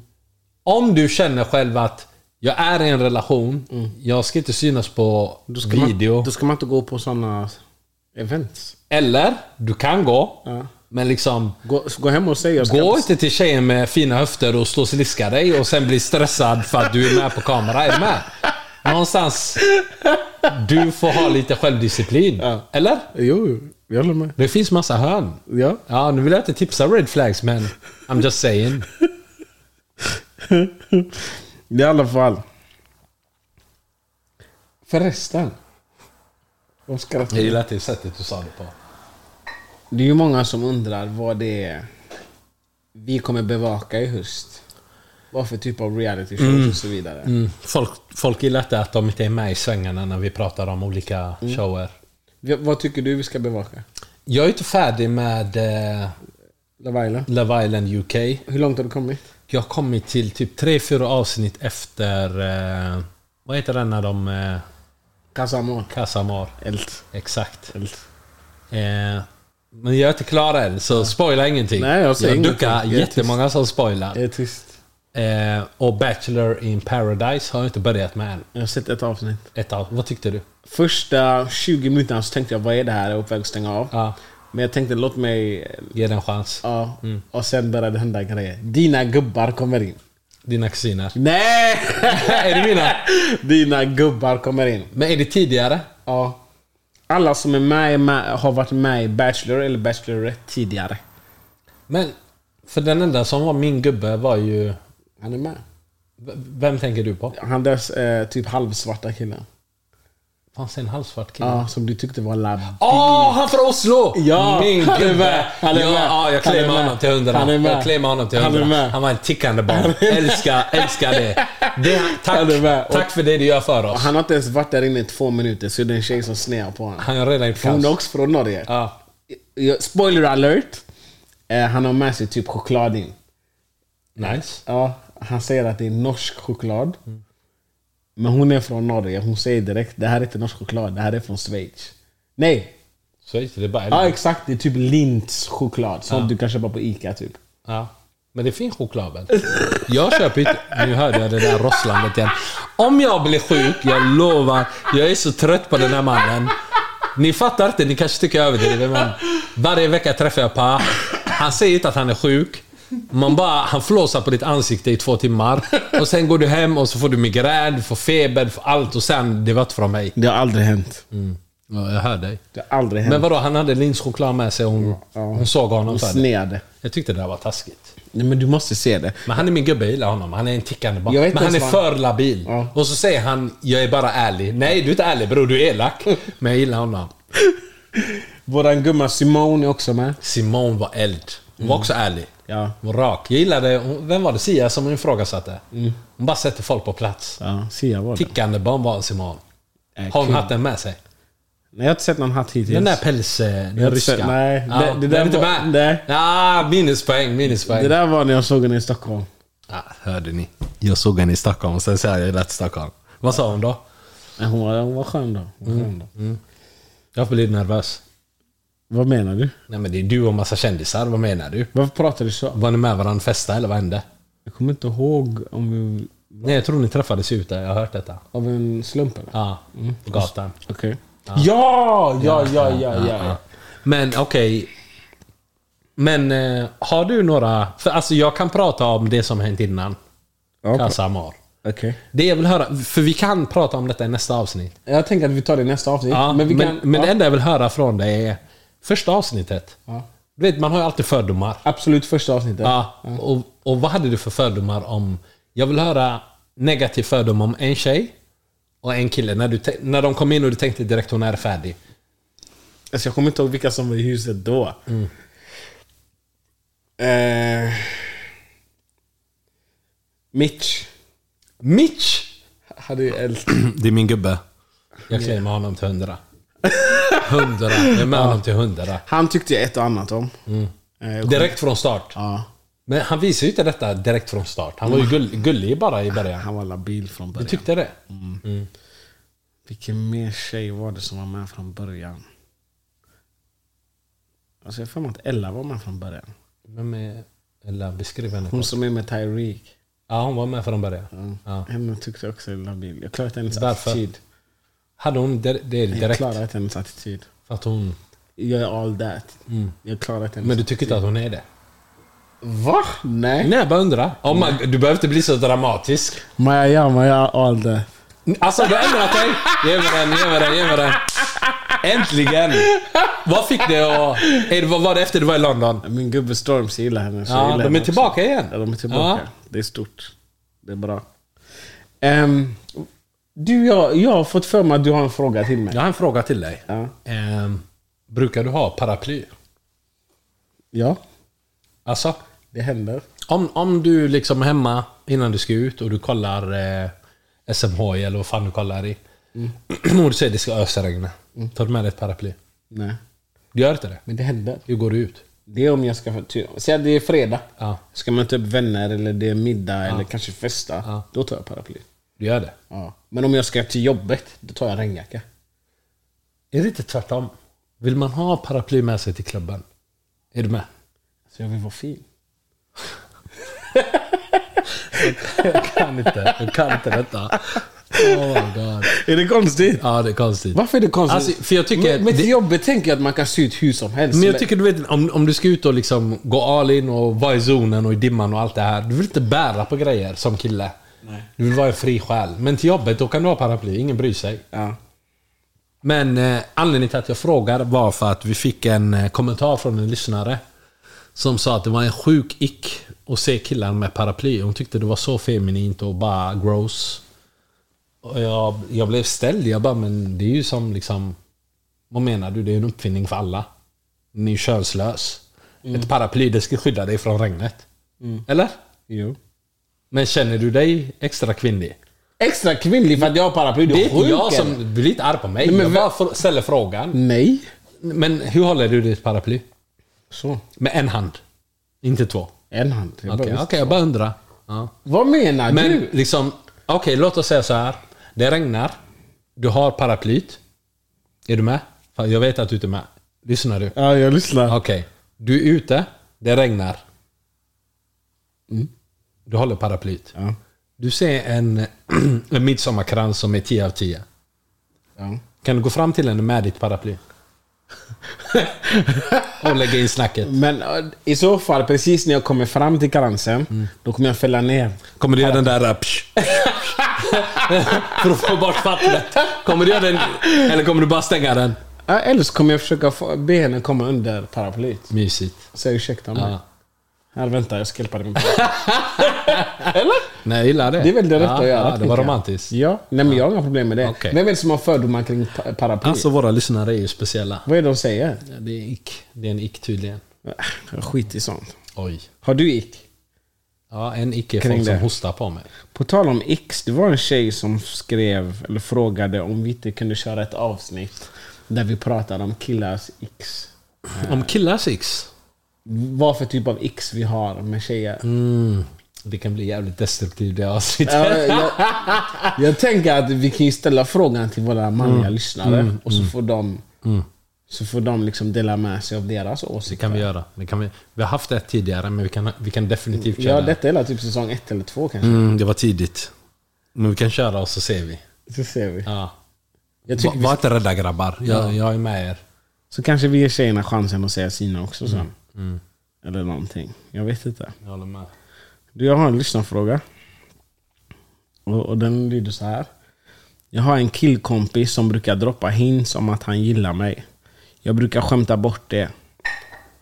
S3: Om du känner själv att jag är i en relation, jag ska inte synas på video.
S1: Man, Mm. då ska man inte gå på sådana events.
S3: Eller, du kan gå,
S1: Ja.
S3: men liksom...
S1: Gå, gå hem och säg jag ska
S3: Gå inte till tjejen med fina höfter och slå och sliska dig och sen bli stressad för att du är med på kamera. Är du med? Någonstans... Du får ha lite självdisciplin.
S1: Ja.
S3: Eller?
S1: Jo, jag håller med.
S3: Det finns massa hörn.
S1: Ja.
S3: Ja, nu vill jag inte tipsa red flags, men I'm just saying.
S1: I alla fall. Förresten. De skrattar.
S3: Jag gillar inte sättet du sa det på.
S1: Det är ju många som undrar vad det är vi kommer bevaka i höst. Vad för typ av reality shows och så vidare.
S3: Mm. Folk, folk gillar inte att de inte är med i svängarna när vi pratar om olika shower.
S1: V- Vad tycker du vi ska bevaka?
S3: Jag är inte färdig med eh,
S1: Love Island?
S3: Love Island UK.
S1: Hur långt har du kommit?
S3: Jag har kommit till typ tre fyra avsnitt efter... Eh, vad heter den när de... Eh,
S1: Casamor?
S3: Casamar.
S1: Elt.
S3: Exakt.
S1: Elt.
S3: Eh, men jag är inte klar än, så spoila ingenting.
S1: Nej, jag säger ingenting.
S3: duckar
S1: Jag är
S3: jättemånga som
S1: Jag
S3: spoilar.
S1: är tyst.
S3: Eh, och Bachelor in Paradise har jag inte börjat med än.
S1: Jag har sett ett avsnitt.
S3: Ett av, vad tyckte du?
S1: Första 20 minuterna så tänkte jag vad är det här? Jag är på väg att stänga av.
S3: Ja,
S1: Men jag tänkte låt mig...
S3: ge den en chans.
S1: Ja. Och sen började det hända grejer. Dina gubbar kommer in.
S3: Dina kusiner.
S1: Nej!
S3: är det mina?
S1: Dina gubbar kommer in.
S3: Men är det tidigare?
S1: Ja. Alla som är med, är med har varit med i Bachelor eller Bachelorette tidigare.
S3: Men, för den enda som var min gubbe var ju... v-
S1: Han är med.
S3: Vem tänker du på?
S1: Han där eh, typ halvsvarta killen.
S3: Fanns det en halvsvart kille?
S1: Ja, som du tyckte var labb.
S3: Åh, han från Oslo!
S1: Ja,
S3: Min
S1: han är
S3: gubbe!
S1: med, han är
S3: ja,
S1: med,
S3: ja, jag
S1: han är
S3: claimar
S1: med.
S3: honom till hundra.
S1: Han är med.
S3: Jag claimar honom till
S1: Han är
S3: hundra.
S1: med.
S3: Han var ett tickande barn. Älskar, älskar det. det tack,
S1: Han är med. Och-
S3: tack för det du gör för oss.
S1: Han har inte ens varit där inne i två minuter så det är en tjej som snear på honom.
S3: Han har redan gjort
S1: Hon är
S3: kaos.
S1: också från Norge.
S3: Ja.
S1: Jag- Spoiler alert! Eh, han har med sig typ choklad in.
S3: Nice.
S1: Ja, han säger att det är norsk choklad. Men hon är från Norge. Hon säger direkt det här är inte norsk choklad, det här är från Schweiz. Nej,
S3: Så gick det bara
S1: Ja
S3: ja.
S1: exakt, det är typ Linds choklad. Sånt du kan köpa på ICA typ.
S3: Men det är fin choklad väl? Jag köper inte... Nu hörde jag det där rosslandet igen. Om jag blir sjuk, jag lovar. Jag är så trött på den här mannen. Ni fattar inte, ni kanske tycker jag överdriver men varje vecka träffar jag Pa. Han säger inte att han är sjuk. Man bara, han flåsar på ditt ansikte i två timmar. Och sen går du hem och så får du migrän, du får feber, du får allt och sen, det var inte från mig.
S1: Det har aldrig hänt.
S3: Ja, jag hör dig.
S1: Mm. Det har aldrig hänt.
S3: Men vadå, han hade Lins choklad med sig och hon, hon såg honom
S1: Hon
S3: för det.
S1: sneade.
S3: Jag tyckte det där var taskigt.
S1: Nej men du måste se det.
S3: Men han är min gubbe, jag gillar honom. Han är en tickande barn.
S1: Jag vet
S3: Men han är
S1: inte ens vad
S3: för labil.
S1: Ja.
S3: Och så säger han, jag är bara ärlig. Nej, du är inte ärlig bror, du är elak. Men jag gillar honom.
S1: Våran gumma Simone är också med.
S3: Simone var eld. Hon var också ärlig.
S1: Mm. Ja.
S3: Hon var rak. Jag gillade, hon- vem var det? Sia som hon ifrågasatte.
S1: Mm.
S3: Hon bara sätter folk på plats.
S1: Ja, Sia var det.
S3: Tickande bomb var Simone.
S1: Äh,
S3: Har hon
S1: kul.
S3: hatten med sig?
S1: Nej, jag har inte sett någon hatt hittills.
S3: Den där päls... eh, Den
S1: Jag har
S3: ryska.
S1: sett- nej,
S3: Ja,
S1: det- det
S3: den
S1: där
S3: är inte
S1: var-
S3: med.
S1: nej.
S3: Ah, minuspoäng, minuspoäng.
S1: Det där var när jag såg henne i Stockholm.
S3: Ah, hörde ni? Jag såg henne i Stockholm, sen sa jag jag lät Stockholm. Vad sa hon då?
S1: Men hon var, hon var skön då. Hon var skön då.
S3: Jag blir nervös.
S1: Vad menar du?
S3: Nej men det är du och massa kändisar, vad menar du?
S1: Varför pratar du så?
S3: Var ni med varandra och festade eller vad hände?
S1: Jag kommer inte ihåg om vi...
S3: Nej jag tror ni träffades ute, jag har hört detta.
S1: Av en slump eller?
S3: Ja,
S1: Mm.
S3: på gatan.
S1: Okej. Ja, ja, ja, ja, ja.
S3: Ja. Men okej. Men eh, har du några... För alltså jag kan prata om det som hänt innan.
S1: Ja, bra.
S3: Kassa Amar.
S1: Okej.
S3: Det jag vill höra, för vi kan prata om detta i nästa avsnitt.
S1: Jag tänker att vi tar det i nästa avsnitt.
S3: Ja, men
S1: vi
S3: men,
S1: ja,
S3: det enda jag vill höra från dig är första avsnittet.
S1: Ja.
S3: Du vet, man har ju alltid fördomar.
S1: Absolut första avsnittet.
S3: Ja. Och, och vad hade du för fördomar om... Jag vill höra negativ fördom om en tjej och en kille. När, du, te- när de kom in och du tänkte direkt hon är färdig.
S1: Alltså, jag kommer inte ihåg vilka som var i huset då. Eh, Mitch
S3: Mitch!
S1: hade ju eld.
S3: Det är min gubbe. Jag claimar honom till hundra. Hundra. Jag är med honom till hundra.
S1: Han tyckte jag ett och annat om. Eh, jag kom-
S3: Direkt från start.
S1: Ja,
S3: Men han visade ju inte detta direkt från start. Han var ju gull, gullig bara i början.
S1: han var labil från
S3: Du
S1: början.
S3: tyckte det?
S1: Vilken mer tjej var det som var med från början? Alltså jag har för mig att Ella var med från början.
S3: Vem är... Eller beskriv henne.
S1: Hon som är med Tyreek.
S3: Ja, hon var med från början. Ja.
S1: Henne tyckte jag också är labil. Jag klarar inte hennes
S3: Varför?
S1: attityd.
S3: Hade hon det, det
S1: Jag
S3: direkt?
S1: klarar inte hennes attityd.
S3: För att hon...
S1: Jag är all that. Jag klarar inte hennes
S3: Mm. Men du tycker inte att hon är det?
S1: Va? Nej.
S3: Nej, jag bara undrar. Om man, du behöver inte bli så dramatisk.
S1: Maja, ja, Maja, all that.
S3: Alltså, du har ändrat dig. Ge mig den, ge mig den, ge mig den. Äntligen! Vad fick det att... är det- Vad var det efter du var i London?
S1: Min gubbe Storms gillar henne. så jag
S3: Ja,
S1: gillar
S3: de
S1: henne
S3: är
S1: också.
S3: tillbaka igen.
S1: Ja, de är tillbaka. Det är stort. Det är bra. Ehm, du, jag, jag har fått för mig att du har en fråga till mig.
S3: Jag har en fråga till dig.
S1: Ja.
S3: Ehm, brukar du ha paraply?
S1: Ja,
S3: Alltså,
S1: det händer.
S3: om, om du liksom är hemma innan du ska ut och du kollar eh, SMH eller vad fan du kollar i.
S1: Mm.
S3: Och du säger det ska ösregna. Tar du med dig ett paraply?
S1: Nej,
S3: Du gör inte det?
S1: men det händer.
S3: Hur går du ut?
S1: Det är om jag ska... ty- Säg att det är fredag.
S3: Ja.
S1: Ska man ta upp vänner eller det är middag eller kanske festa.
S3: Ja.
S1: Då tar jag paraply.
S3: Du gör det?
S1: Ja. Men om jag ska till jobbet, då tar jag regnjacka.
S3: Är det inte tvärtom? Vill man ha paraply med sig till klubben? Är du med?
S1: Så jag vill vara fin.
S3: Jag kan inte. Jag kan inte detta. Oh my god.
S1: Är det konstigt?
S3: Ja, det är konstigt.
S1: Varför är det konstigt?
S3: Alltså, för jag tycker...
S1: men, men till
S3: det,
S1: jobbet tänker jag att man kan se ut hur som helst.
S3: men jag tycker du vet, om, om du ska ut och liksom gå all in och vara i zonen och i dimman och allt det här. Du vill inte bära på grejer som kille. Du vill vara en fri själ. Men till jobbet, då kan du ha paraply. Ingen bryr sig.
S1: ja.
S3: Men eh, anledningen till att jag frågar var för att vi fick en eh, kommentar från en lyssnare. Som sa att det var en sjuk ick att se killar med paraply. Hon tyckte det var så feminint och bara gross. Och jag, jag blev ställd. Jag bara, men det är ju som liksom... Vad menar du? Det är en uppfinning för alla. Den är ju könslös.
S1: Mm.
S3: Ett paraply, det ska skydda dig från regnet. Eller?
S1: Jo.
S3: Men känner du dig extra kvinnlig?
S1: Extra kvinnlig för att jag har paraply. Du
S3: Det är inte
S1: sjuk,
S3: jag
S1: eller?
S3: som... Bli inte arg på mig.
S1: Nej, men
S3: jag
S1: vi-
S3: bara fr- ställer frågan.
S1: Nej.
S3: Men hur håller du ditt paraply?
S1: Så.
S3: Med en hand? Inte två?
S1: En hand. Jag
S3: Okej,
S1: bara-
S3: okej, jag bara undrar. Ja.
S1: Vad menar
S3: Men
S1: du?
S3: liksom, okej låt oss säga så här. Det regnar. Du har paraplyt. Är du med? Fan, jag vet att du inte är med. Lyssnar du?
S1: Ja, jag lyssnar.
S3: Okej. Du är ute. Det regnar. Du håller paraplyt.
S1: Ja.
S3: Du ser en, en midsommarkrans som är 10 av 10.
S1: Ja.
S3: Kan du gå fram till henne med ditt paraply? Och lägga in snacket.
S1: Men äh, i så fall, precis när jag kommer fram till karansen,
S3: Mm.
S1: då kommer jag fälla ner.
S3: Kommer du göra den där... äh, psh, För att få bort vattnet. Kommer du göra den... Eller kommer du bara stänga den?
S1: Ja, Eller så kommer jag försöka få, be henne komma under paraplyet.
S3: Mysigt.
S1: Så ursäkta mig.
S3: Ja.
S1: Här, vänta, jag skälpade min
S3: Nej, jag gillar det.
S1: Det är väl det rätta
S3: ja,
S1: att göra?
S3: Ja, det
S1: tycker
S3: var
S1: jag.
S3: romantiskt.
S1: Ja, nej men jag har inga problem med det.
S3: Okej.
S1: Vem är det som har fördomar kring pa- paraply?
S3: Alltså våra lyssnare är ju speciella.
S1: Vad är det de säger?
S3: Ja, Det är ick. Det är en ick tydligen.
S1: Äh, Skit i sånt.
S3: Oj.
S1: Har du ick?
S3: Ja, en ick är
S1: Kring
S3: folk som
S1: det.
S3: hostar på mig.
S1: På tal om x, det var en tjej som skrev, eller frågade om vi inte kunde köra ett avsnitt där vi pratade om killars x.
S3: Om killars icks.
S1: Vad för typ av x vi har med tjejer.
S3: Mm. Det kan bli jävligt destruktivt det avsnittet.
S1: Ja, jag, jag Mm. tänker att vi kan ju ställa frågan till våra manliga lyssnare och så får de, så får de liksom dela med sig av deras
S3: Det
S1: åsikter.
S3: kan vi göra. Det kan vi, vi har haft ett tidigare, men vi kan, vi kan definitivt köra.
S1: Ja, detta är väl typ säsong ett eller två kanske.
S3: mm, det var tidigt. Men vi kan köra och så ser vi.
S1: Så ser vi.
S3: Ja.
S1: Jag
S3: Va,
S1: tycker vi
S3: var inte rädda grabbar. Jag, jag är med er.
S1: Så kanske vi ger tjejerna chansen att säga sina också sen. Mm. Eller någonting. Jag vet inte.
S3: Jag håller med.
S1: Du, jag har en lyssnarfråga. Och, och den lyder så här. Jag har en killkompis som brukar droppa hints om att han gillar mig. Jag brukar skämta bort det.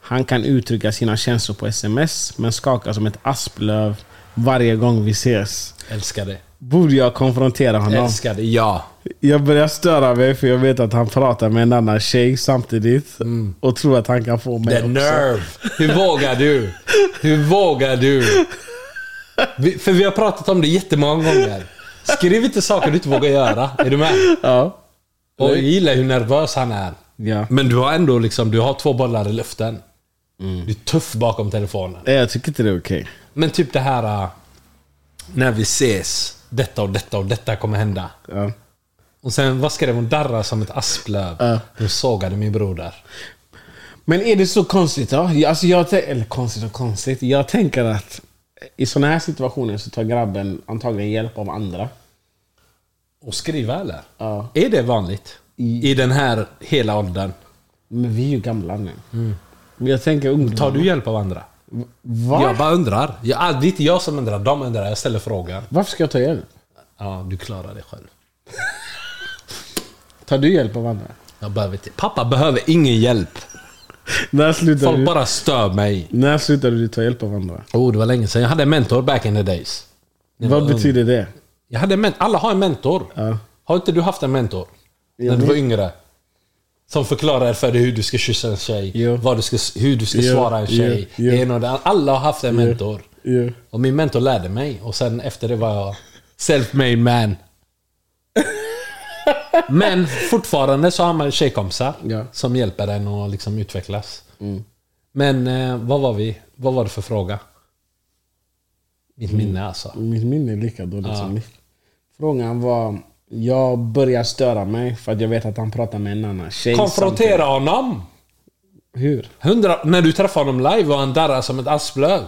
S1: Han kan uttrycka sina känslor på sms men skakar som ett asplöv varje gång vi ses.
S3: Älskar det.
S1: Borde jag konfrontera honom?
S3: Älskar det, ja.
S1: Jag börjar störa mig för jag vet att han pratar med en annan tjej samtidigt och tror att han kan få mig
S3: The
S1: också.
S3: nerve! Hur vågar du? Hur vågar du? Vi, för vi har pratat om det jättemånga gånger. Skriv inte saker du inte vågar göra. Är du med?
S1: Ja.
S3: Och jag gillar hur nervös han är.
S1: ja.
S3: Men du har ändå liksom, du har två bollar i luften.
S1: Mm.
S3: Du är tuff bakom telefonen.
S1: Nej, Jag tycker inte det är okej.
S3: Men typ det här... äh, När vi ses. Detta och detta och detta kommer hända.
S1: Ja.
S3: Och sen, vad skrev hon? Darra som ett asplöv.
S1: Ja.
S3: Hon sågade min broder.
S1: Men är det så konstigt då? Jag- Alltså jag, tän- eller konstigt och konstigt. Jag tänker att i sådana här situationer så tar grabben antagligen hjälp av andra.
S3: Och skriva eller?
S1: Ja.
S3: Är det vanligt? I den här hela åldern?
S1: Men vi är ju gamla nu. Men jag tänker ungdomar.
S3: Tar du hjälp av andra?
S1: Mm. Va?
S3: Jag bara undrar. Jag, ah, det är inte jag som undrar, de undrar. Jag ställer frågan.
S1: Varför ska jag ta hjälp?
S3: Ja, du klarar det själv.
S1: Tar du hjälp av andra?
S3: Jag behöver inte. Pappa behöver ingen hjälp.
S1: När slutar,
S3: Folk
S1: du,
S3: bara stör mig.
S1: när slutar du ta hjälp av andra?
S3: Oh, det var länge sedan. Jag hade en mentor back in the days. Jag
S1: Vad
S3: var ung.
S1: betyder det?
S3: Jag hade en men- Alla har en mentor.
S1: Ja.
S3: Har inte du haft en mentor?
S1: Jo,
S3: när du
S1: men-
S3: var yngre? Som förklarar för dig hur du ska kyssa en tjej,
S1: Jo.
S3: vad du ska, hur du ska
S1: Jo,
S3: svara en tjej.
S1: jo, jo.
S3: Det ena och det andra. Alla har haft en mentor.
S1: Jo.
S3: Och min mentor lärde mig och sen efter det var jag self-made man. Men fortfarande så har man tjejkompisar
S1: Ja. Mm.
S3: som hjälper en att liksom utvecklas. Men eh, vad var vi? Vad var det för fråga? Mitt
S1: Mm.
S3: minne alltså.
S1: Mitt minne är lika dåligt som ditt. Frågan var, jag börjar störa mig för att jag vet att han pratar med en annan tjej
S3: Konfrontera honom!
S1: samtidigt. Hur?
S3: Hundra, när du träffar honom live och han darrar som ett asplöv.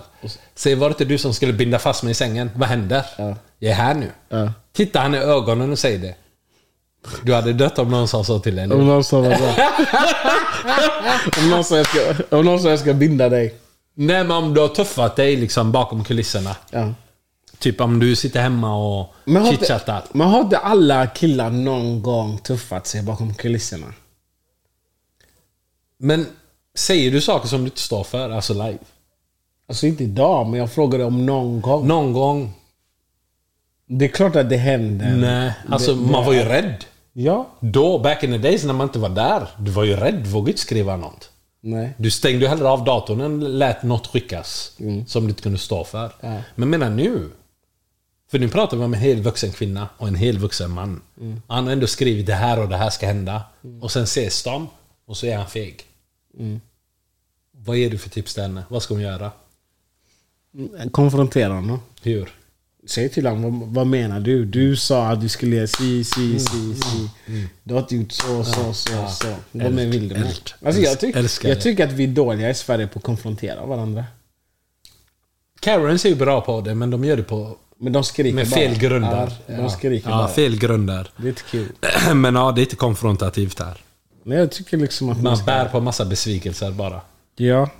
S3: Säg var det inte du som skulle binda fast mig i sängen? Vad händer?
S1: Ja.
S3: Jag är här nu.
S1: Ja.
S3: Titta han i ögonen och säg det. Du hade dött om någon sa så till dig.
S1: Om någon sa vad bra. om någon sa jag ska, om någon sa jag ska binda dig.
S3: Nej men om du har tuffat dig liksom bakom kulisserna.
S1: Ja.
S3: Typ om du sitter hemma och
S1: Men har, inte,
S3: chitchattar.
S1: men har inte alla killar någon gång tuffat sig bakom kulisserna?
S3: Men säger du saker som du inte står för, alltså live?
S1: Alltså inte idag, men jag frågade om någon gång.
S3: Någon gång?
S1: Det är klart att det händer.
S3: Nej. Alltså man var ju rädd.
S1: Ja.
S3: Då, back in the days när man inte var där, du var ju rädd. Du vågade inte skriva något.
S1: Nej.
S3: Du stängde ju hellre av datorn än lät något skickas som du inte kunde stå för.
S1: Mm. Ja.
S3: Men menar nu? För nu pratar vi om en hel vuxen kvinna och en hel vuxen man.
S1: Mm.
S3: Han har ändå skrivit det här och det här ska hända. Och sen ses de och så är han feg.
S1: Mm.
S3: Vad ger du för tips till henne? Vad ska hon göra?
S1: Konfrontera honom.
S3: Hur?
S1: Säg till honom, vad, vad menar du? Du sa att du skulle göra si,
S3: Mm.
S1: si, si, si. Du har inte gjort så, så, så, så. Vad mer vill du med?
S3: älsk-
S1: Alltså jag, tyck,
S3: älskar
S1: jag
S3: det.
S1: tycker att vi är dåliga i Sverige på att konfrontera varandra.
S3: Karens är ju bra på det, men de gör det på
S1: Men de skriker
S3: med
S1: bara.
S3: fel grunder.
S1: Ja, de skriker
S3: ja,
S1: bara.
S3: fel grunder.
S1: Det är inte kul.
S3: Men ja, det är inte konfrontativt här.
S1: Nej, jag tycker liksom att man
S3: Man
S1: ska...
S3: bär på massa besvikelser bara.
S1: Ja.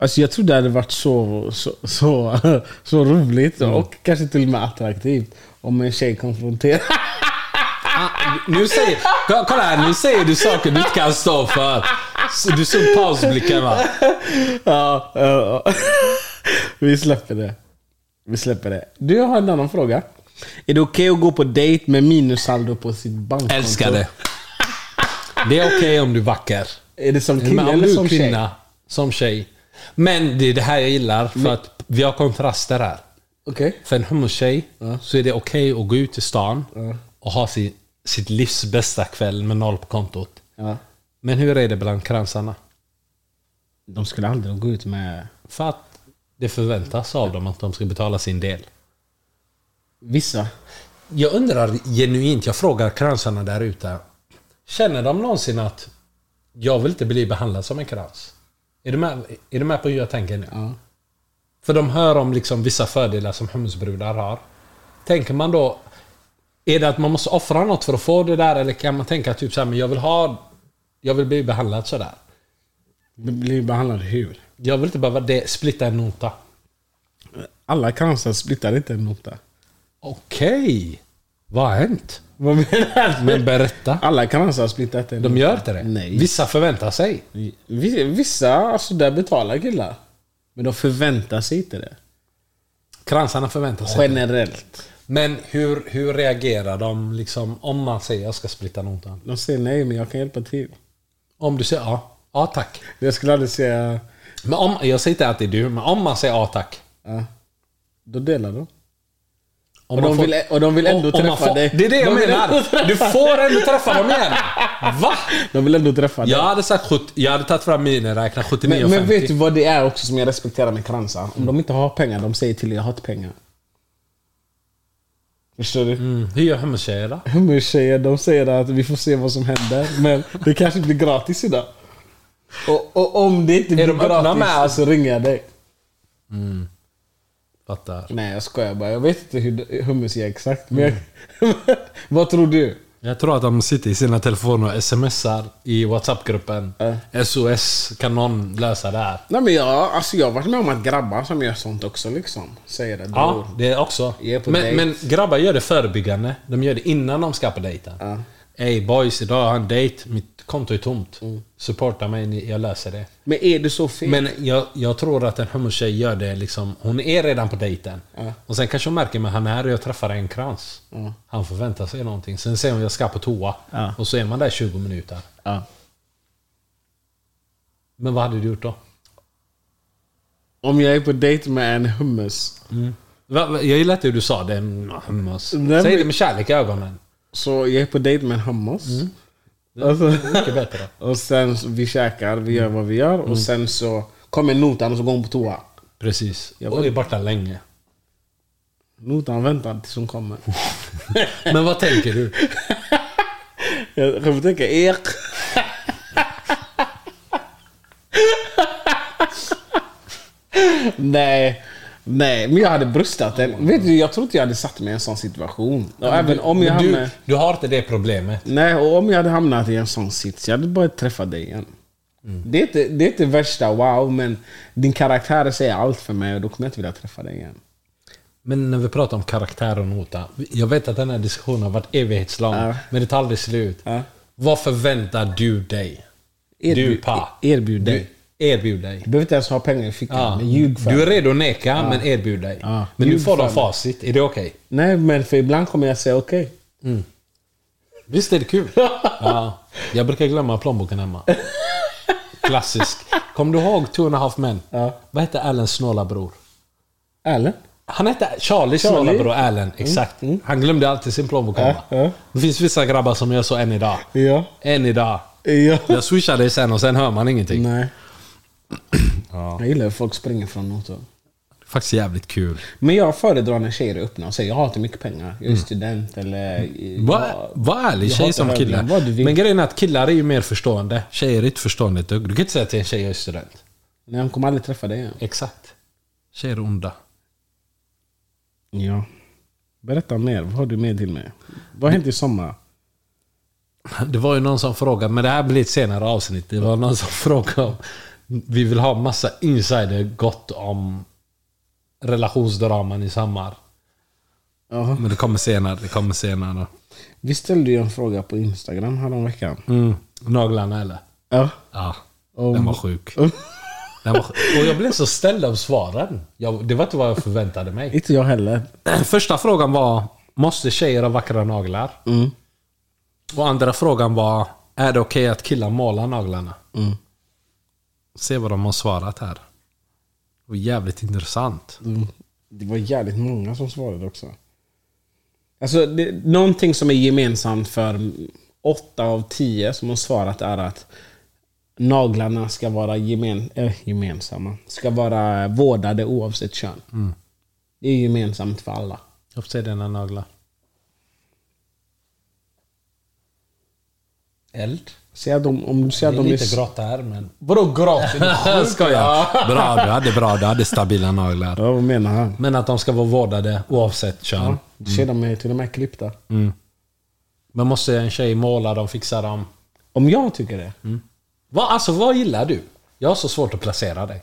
S1: Alltså jag tror det hade varit så, så, så, så roligt
S3: Mm.
S1: och kanske till och med attraktivt om en tjej konfronterar.
S3: Nu säger, ko- kolla här, nu säger du saker du inte kan stå för. Så Du såg pausblicken va?
S1: Ja, ja, ja. Vi släpper det. Vi släpper det. Du, jag har en annan fråga. Är det okej att gå på dejt med minussaldo på sitt bankkonto?
S3: Älskar det. Det är okej om du är vacker.
S1: Är det som
S3: Men
S1: kille
S3: om
S1: eller
S3: du
S1: som
S3: är
S1: tjej?
S3: kvinna, som tjej. Men det är det här jag gillar, för att vi har kontraster här.
S1: Okej.
S3: För en homotjej så är det okej att gå ut i stan och ha sin, sitt livs bästa kväll med noll på kontot.
S1: Ja.
S3: Men hur är det bland kransarna?
S1: De skulle aldrig gå ut med...
S3: För att det förväntas av dem att de ska betala sin del.
S1: Vissa.
S3: Jag undrar genuint, jag frågar kransarna där ute. Känner de någonsin att jag vill inte bli behandlad som en krans? Är du med, är du med på hur jag tänker nu?
S1: Ja.
S3: För de hör om liksom vissa fördelar som hummusbrudar har. Tänker man då, är det att man måste offra något för att få det där eller kan man tänka typ såhär, men jag vill ha, jag vill bli behandlad sådär.
S1: De blir behandlade hur?
S3: Jag vill inte behöva det, splitta en nota.
S1: Alla alltså cancer splittar inte en nota.
S3: Okej, vad har hänt?
S1: Vad menar du?
S3: Men berätta.
S1: Alla alltså cancer splittar inte en
S3: De
S1: nota.
S3: gör inte det.
S1: Nej.
S3: Vissa förväntar sig.
S1: Vi- Vissa, alltså där betalar killar. Men de förväntar sig inte det.
S3: Kransarna förväntar sig.
S1: Generellt.
S3: Men hur, hur reagerar de liksom om man säger jag ska splitta notan?
S1: De säger nej, men jag kan hjälpa till.
S3: Om du säger ja, ja tack.
S1: Jag skulle aldrig säga...
S3: Men om, jag säger inte att det är du, men om man säger ja tack.
S1: Ja. Då delar de.
S3: Om
S1: Och
S3: man
S1: de
S3: får-
S1: vill- och de vill ändå
S3: man
S1: träffa
S3: får,
S1: dig.
S3: Det är det jag
S1: De vill ändå
S3: menar. Du får ändå träffa dem igen. Va?
S1: De vill ändå träffa dig.
S3: Jag hade, sagt, 70 jag hade tagit fram miniräknaren 79,50.
S1: Men, men vet du vad det är också som jag respekterar med kransar? Om de inte har pengar, de säger till dig jag har inte pengar. Förstår du?
S3: Mm, hur gör hemmafjejer då?
S1: Hummertjejer, de säger att vi får se vad som händer, men det kanske blir gratis idag. Och, och om det inte blir
S3: de öppna
S1: gratis
S3: med oss?
S1: så ringer jag dig.
S3: Fattar.
S1: Nej jag skojar bara, jag vet inte hur hummus är exakt. Men vad tror du?
S3: Jag tror att de sitter i sina telefoner och smsar i WhatsApp-gruppen. SOS, kan någon lösa det här?
S1: Nej men jag, alltså jag har varit med om att grabbar som gör sånt också liksom. Säger att
S3: Ja, det är också.
S1: Jag är på
S3: Men,
S1: dejt.
S3: men grabbar gör det förebyggande. De gör det innan de ska på dejten.
S1: Ja.
S3: Ey boys, idag har jag en dejt. Mitt konto är tomt.
S1: Mm.
S3: Supporta mig, ni- jag löser det.
S1: Men är det så fel?
S3: Men jag, jag tror att en homotjej gör det liksom, hon är redan på dejten. Och sen kanske hon märker, men han är och jag träffar en krans.
S1: Mm.
S3: Han förväntar sig någonting. Sen säger hon, jag ska på toa.
S1: Ja.
S3: Och så är man där 20 minuter.
S1: Ja.
S3: Men vad hade du gjort då?
S1: Om jag är på dejt med en hummus,
S3: Va- va- Jag gillar inte hur du sa det. Mm, hummus.
S1: Nej,
S3: Säg
S1: men-
S3: det med kärlek i ögonen.
S1: så jag är på dejt med en hummus. Alltså,
S3: Mycket bättre.
S1: och sen så vi käkar, vi gör vad vi gör och sen så kommer notan och så går hon på toa.
S3: Precis.
S1: Jag
S3: Och är borta länge.
S1: Notan väntar tills hon kommer.
S3: Men vad tänker du?
S1: Jag kommer tänka ek. nej. Nej, men jag hade bröstat den. Vet du, jag tror inte jag hade satt mig i en sån situation. Och även om jag
S3: Men du,
S1: hamnade...
S3: du har inte det problemet.
S1: Nej, och om jag hade hamnat i en sån sits, jag hade bara träffat dig igen.
S3: Mm.
S1: Det, är inte, det är inte värsta wow, men din karaktär säger allt för mig och då kommer jag inte vilja träffa dig igen.
S3: Men när vi pratar om karaktär och nota. Jag vet att den här diskussionen har varit evighetslång.
S1: Ja.
S3: Men det tar aldrig slut.
S1: Ja.
S3: Vad förväntar du dig? du pa.
S1: Erbjud dig.
S3: Du, erbjud dig.
S1: Du behöver inte ens ha pengar i fickan,
S3: Ja.
S1: men ljug för
S3: Du är
S1: mig.
S3: redo att neka, men erbjud dig.
S1: Ja.
S3: Men nu
S1: Ljug
S3: får de
S1: för mig.
S3: facit. Är det okej?
S1: Nej, men för ibland kommer jag säga okej.
S3: Visst är det kul? ja. Jag brukar glömma plånboken hemma. Klassisk. Kommer du ihåg Two and a half men?
S1: Ja.
S3: Vad hette Allens snåla bror?
S1: Eller?
S3: Han hette Charlie snåla
S1: Charlie? Mm.
S3: bror Allen, exakt. Han glömde alltid sin plånbok hemma.
S1: ja.
S3: Det finns vissa grabbar som gör så än idag.
S1: Ja.
S3: Än idag.
S1: Ja.
S3: Jag swishar dig sen och sen hör man ingenting.
S1: Nej. Jag gillar hur folk springer från något.
S3: Faktiskt jävligt kul.
S1: Men jag föredrar när tjejer är öppna och säger jag har inte mycket pengar. Jag är student eller... eh,
S3: Var, var ärlig,
S1: jag
S3: tjej
S1: hatar
S3: som kille.
S1: högern, vad du vill.
S3: Men grejen är att killar är ju mer förstående. Tjejer är inte förstående ett dugg. Du kan inte säga till en tjej jag är student.
S1: Nej, hon kommer aldrig träffa dig igen.
S3: Exakt. Tjejer är onda.
S1: Ja. Berätta mer. Vad har du med till mig? Vad har hänt i sommar?
S3: Det var ju någon som frågade, men det här blir ett senare avsnitt. Det var någon som frågade om vi vill ha massa insider gott om relationsdraman i Samar.
S1: Jaha.
S3: Men det kommer senare, det kommer senare.
S1: Vi ställde ju en fråga på Instagram häromveckan.
S3: Mm. Naglarna eller?
S1: Ja.
S3: Ja. Mm.
S1: Om-
S3: Den var sjuk. Den var, och jag blev så ställd av svaren. Jag, det var inte vad jag förväntade mig.
S1: Inte jag heller.
S3: Eh, Första frågan var, måste tjejer ha vackra naglar?
S1: Mm.
S3: Och andra frågan var, är det okej att killar målar naglarna? Se vad de har svarat här. Det var jävligt intressant.
S1: Det var jävligt många som svarade också. Alltså, det, någonting som är gemensamt för åtta av tio som har svarat är att naglarna ska vara gemen, eh, gemensamma. Ska vara vårdade oavsett kön.
S3: Mm.
S1: Det är gemensamt för alla.
S3: Jag får se dina naglar. Eld?
S1: Säg att de, om du säger att
S3: Det är
S1: de
S3: lite
S1: är...
S3: grått här men...
S1: Vadå gratis?
S3: Skojar! Bra, du hade bra. Du hade stabila naglar.
S1: ja, vad menar han?
S3: Men att de ska vara vårdade oavsett kön.
S1: Ja. Du ser, de är till och med klippta.
S3: Mm. Men måste en tjej måla dem, fixa dem?
S1: Om jag tycker det?
S3: Mm. Vad, alltså, vad gillar du? Jag har så svårt att placera dig.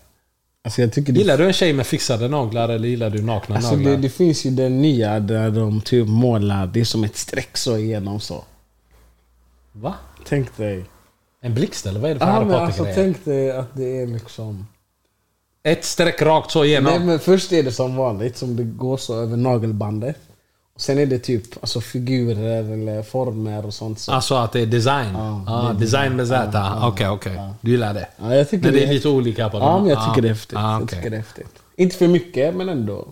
S1: Alltså jag tycker det
S3: Gillar du en tjej med fixade naglar eller gillar du nakna
S1: Alltså
S3: naglar?
S1: det, det finns ju den nya där de typ målar, det är som ett streck så igenom så.
S3: Va?
S1: Tänk dig.
S3: En blixt eller vad är det för
S1: Ja,
S3: Harry
S1: men
S3: Potter-grejer?
S1: alltså, tänk dig att det är liksom...
S3: Ett streck rakt så igenom.
S1: Nej, men först är det som vanligt, som det går så över nagelbandet. Och sen är det typ alltså, figurer eller former och sånt. Så.
S3: Alltså att det är design?
S1: Ja,
S3: ah, design med Z? ah, Okej, okej. Du gillar det?
S1: Ja, jag tycker
S3: Men det
S1: det
S3: är
S1: är-
S3: lite olika på dem?
S1: ja, men jag tycker
S3: Ah,
S1: det är häftigt.
S3: ah,
S1: Jag
S3: okej.
S1: tycker det är häftigt. Inte för mycket, men ändå.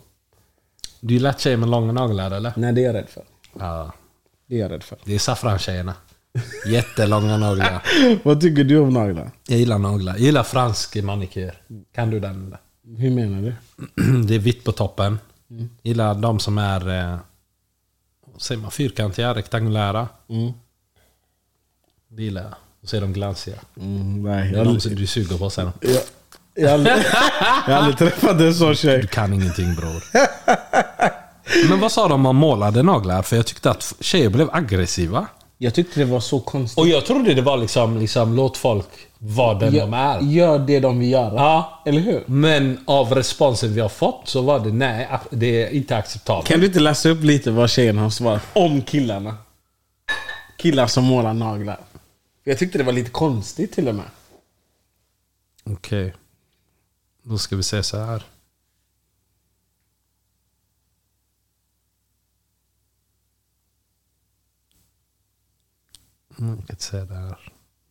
S3: Du gillar tjejer med långa naglar eller?
S1: Nej, det är jag rädd för.
S3: Ja.
S1: Det är jag rädd för.
S3: Det är saffrantjejerna. Jättelånga naglar.
S1: Vad tycker du om naglar?
S3: Jag gillar naglar. Jag gillar fransk manikyr. Kan du den? eller?
S1: Hur menar du?
S3: Det är vitt på toppen. Gillar de som är eh, vad säger man, fyrkantiga, rektangulära.
S1: Mm.
S3: Det gillar jag. Och så är de glansiga.
S1: Mm, nej,
S3: Det
S1: jag,
S3: är
S1: har
S3: de
S1: aldrig-
S3: som du suger på sen.
S1: jag, jag, har aldrig- jag har aldrig träffat en sån tjej.
S3: Du kan ingenting bror. Men vad sa de om målade naglar? För jag tyckte att tjejer blev aggressiva.
S1: Jag tyckte det var så konstigt.
S3: Och jag trodde det var liksom, liksom låt folk vara den de
S1: Gör,
S3: är.
S1: gör det de vill göra.
S3: Ja.
S1: Eller hur?
S3: Men av responsen vi har fått så var det nej, ac- det är inte acceptabelt.
S1: Kan du inte läsa upp lite vad tjejerna har svarat om killarna? Killar som målar naglar. Jag tyckte det var lite konstigt till och med.
S3: Okej. Då ska vi se så här. Mm, Jag kan inte säga det här.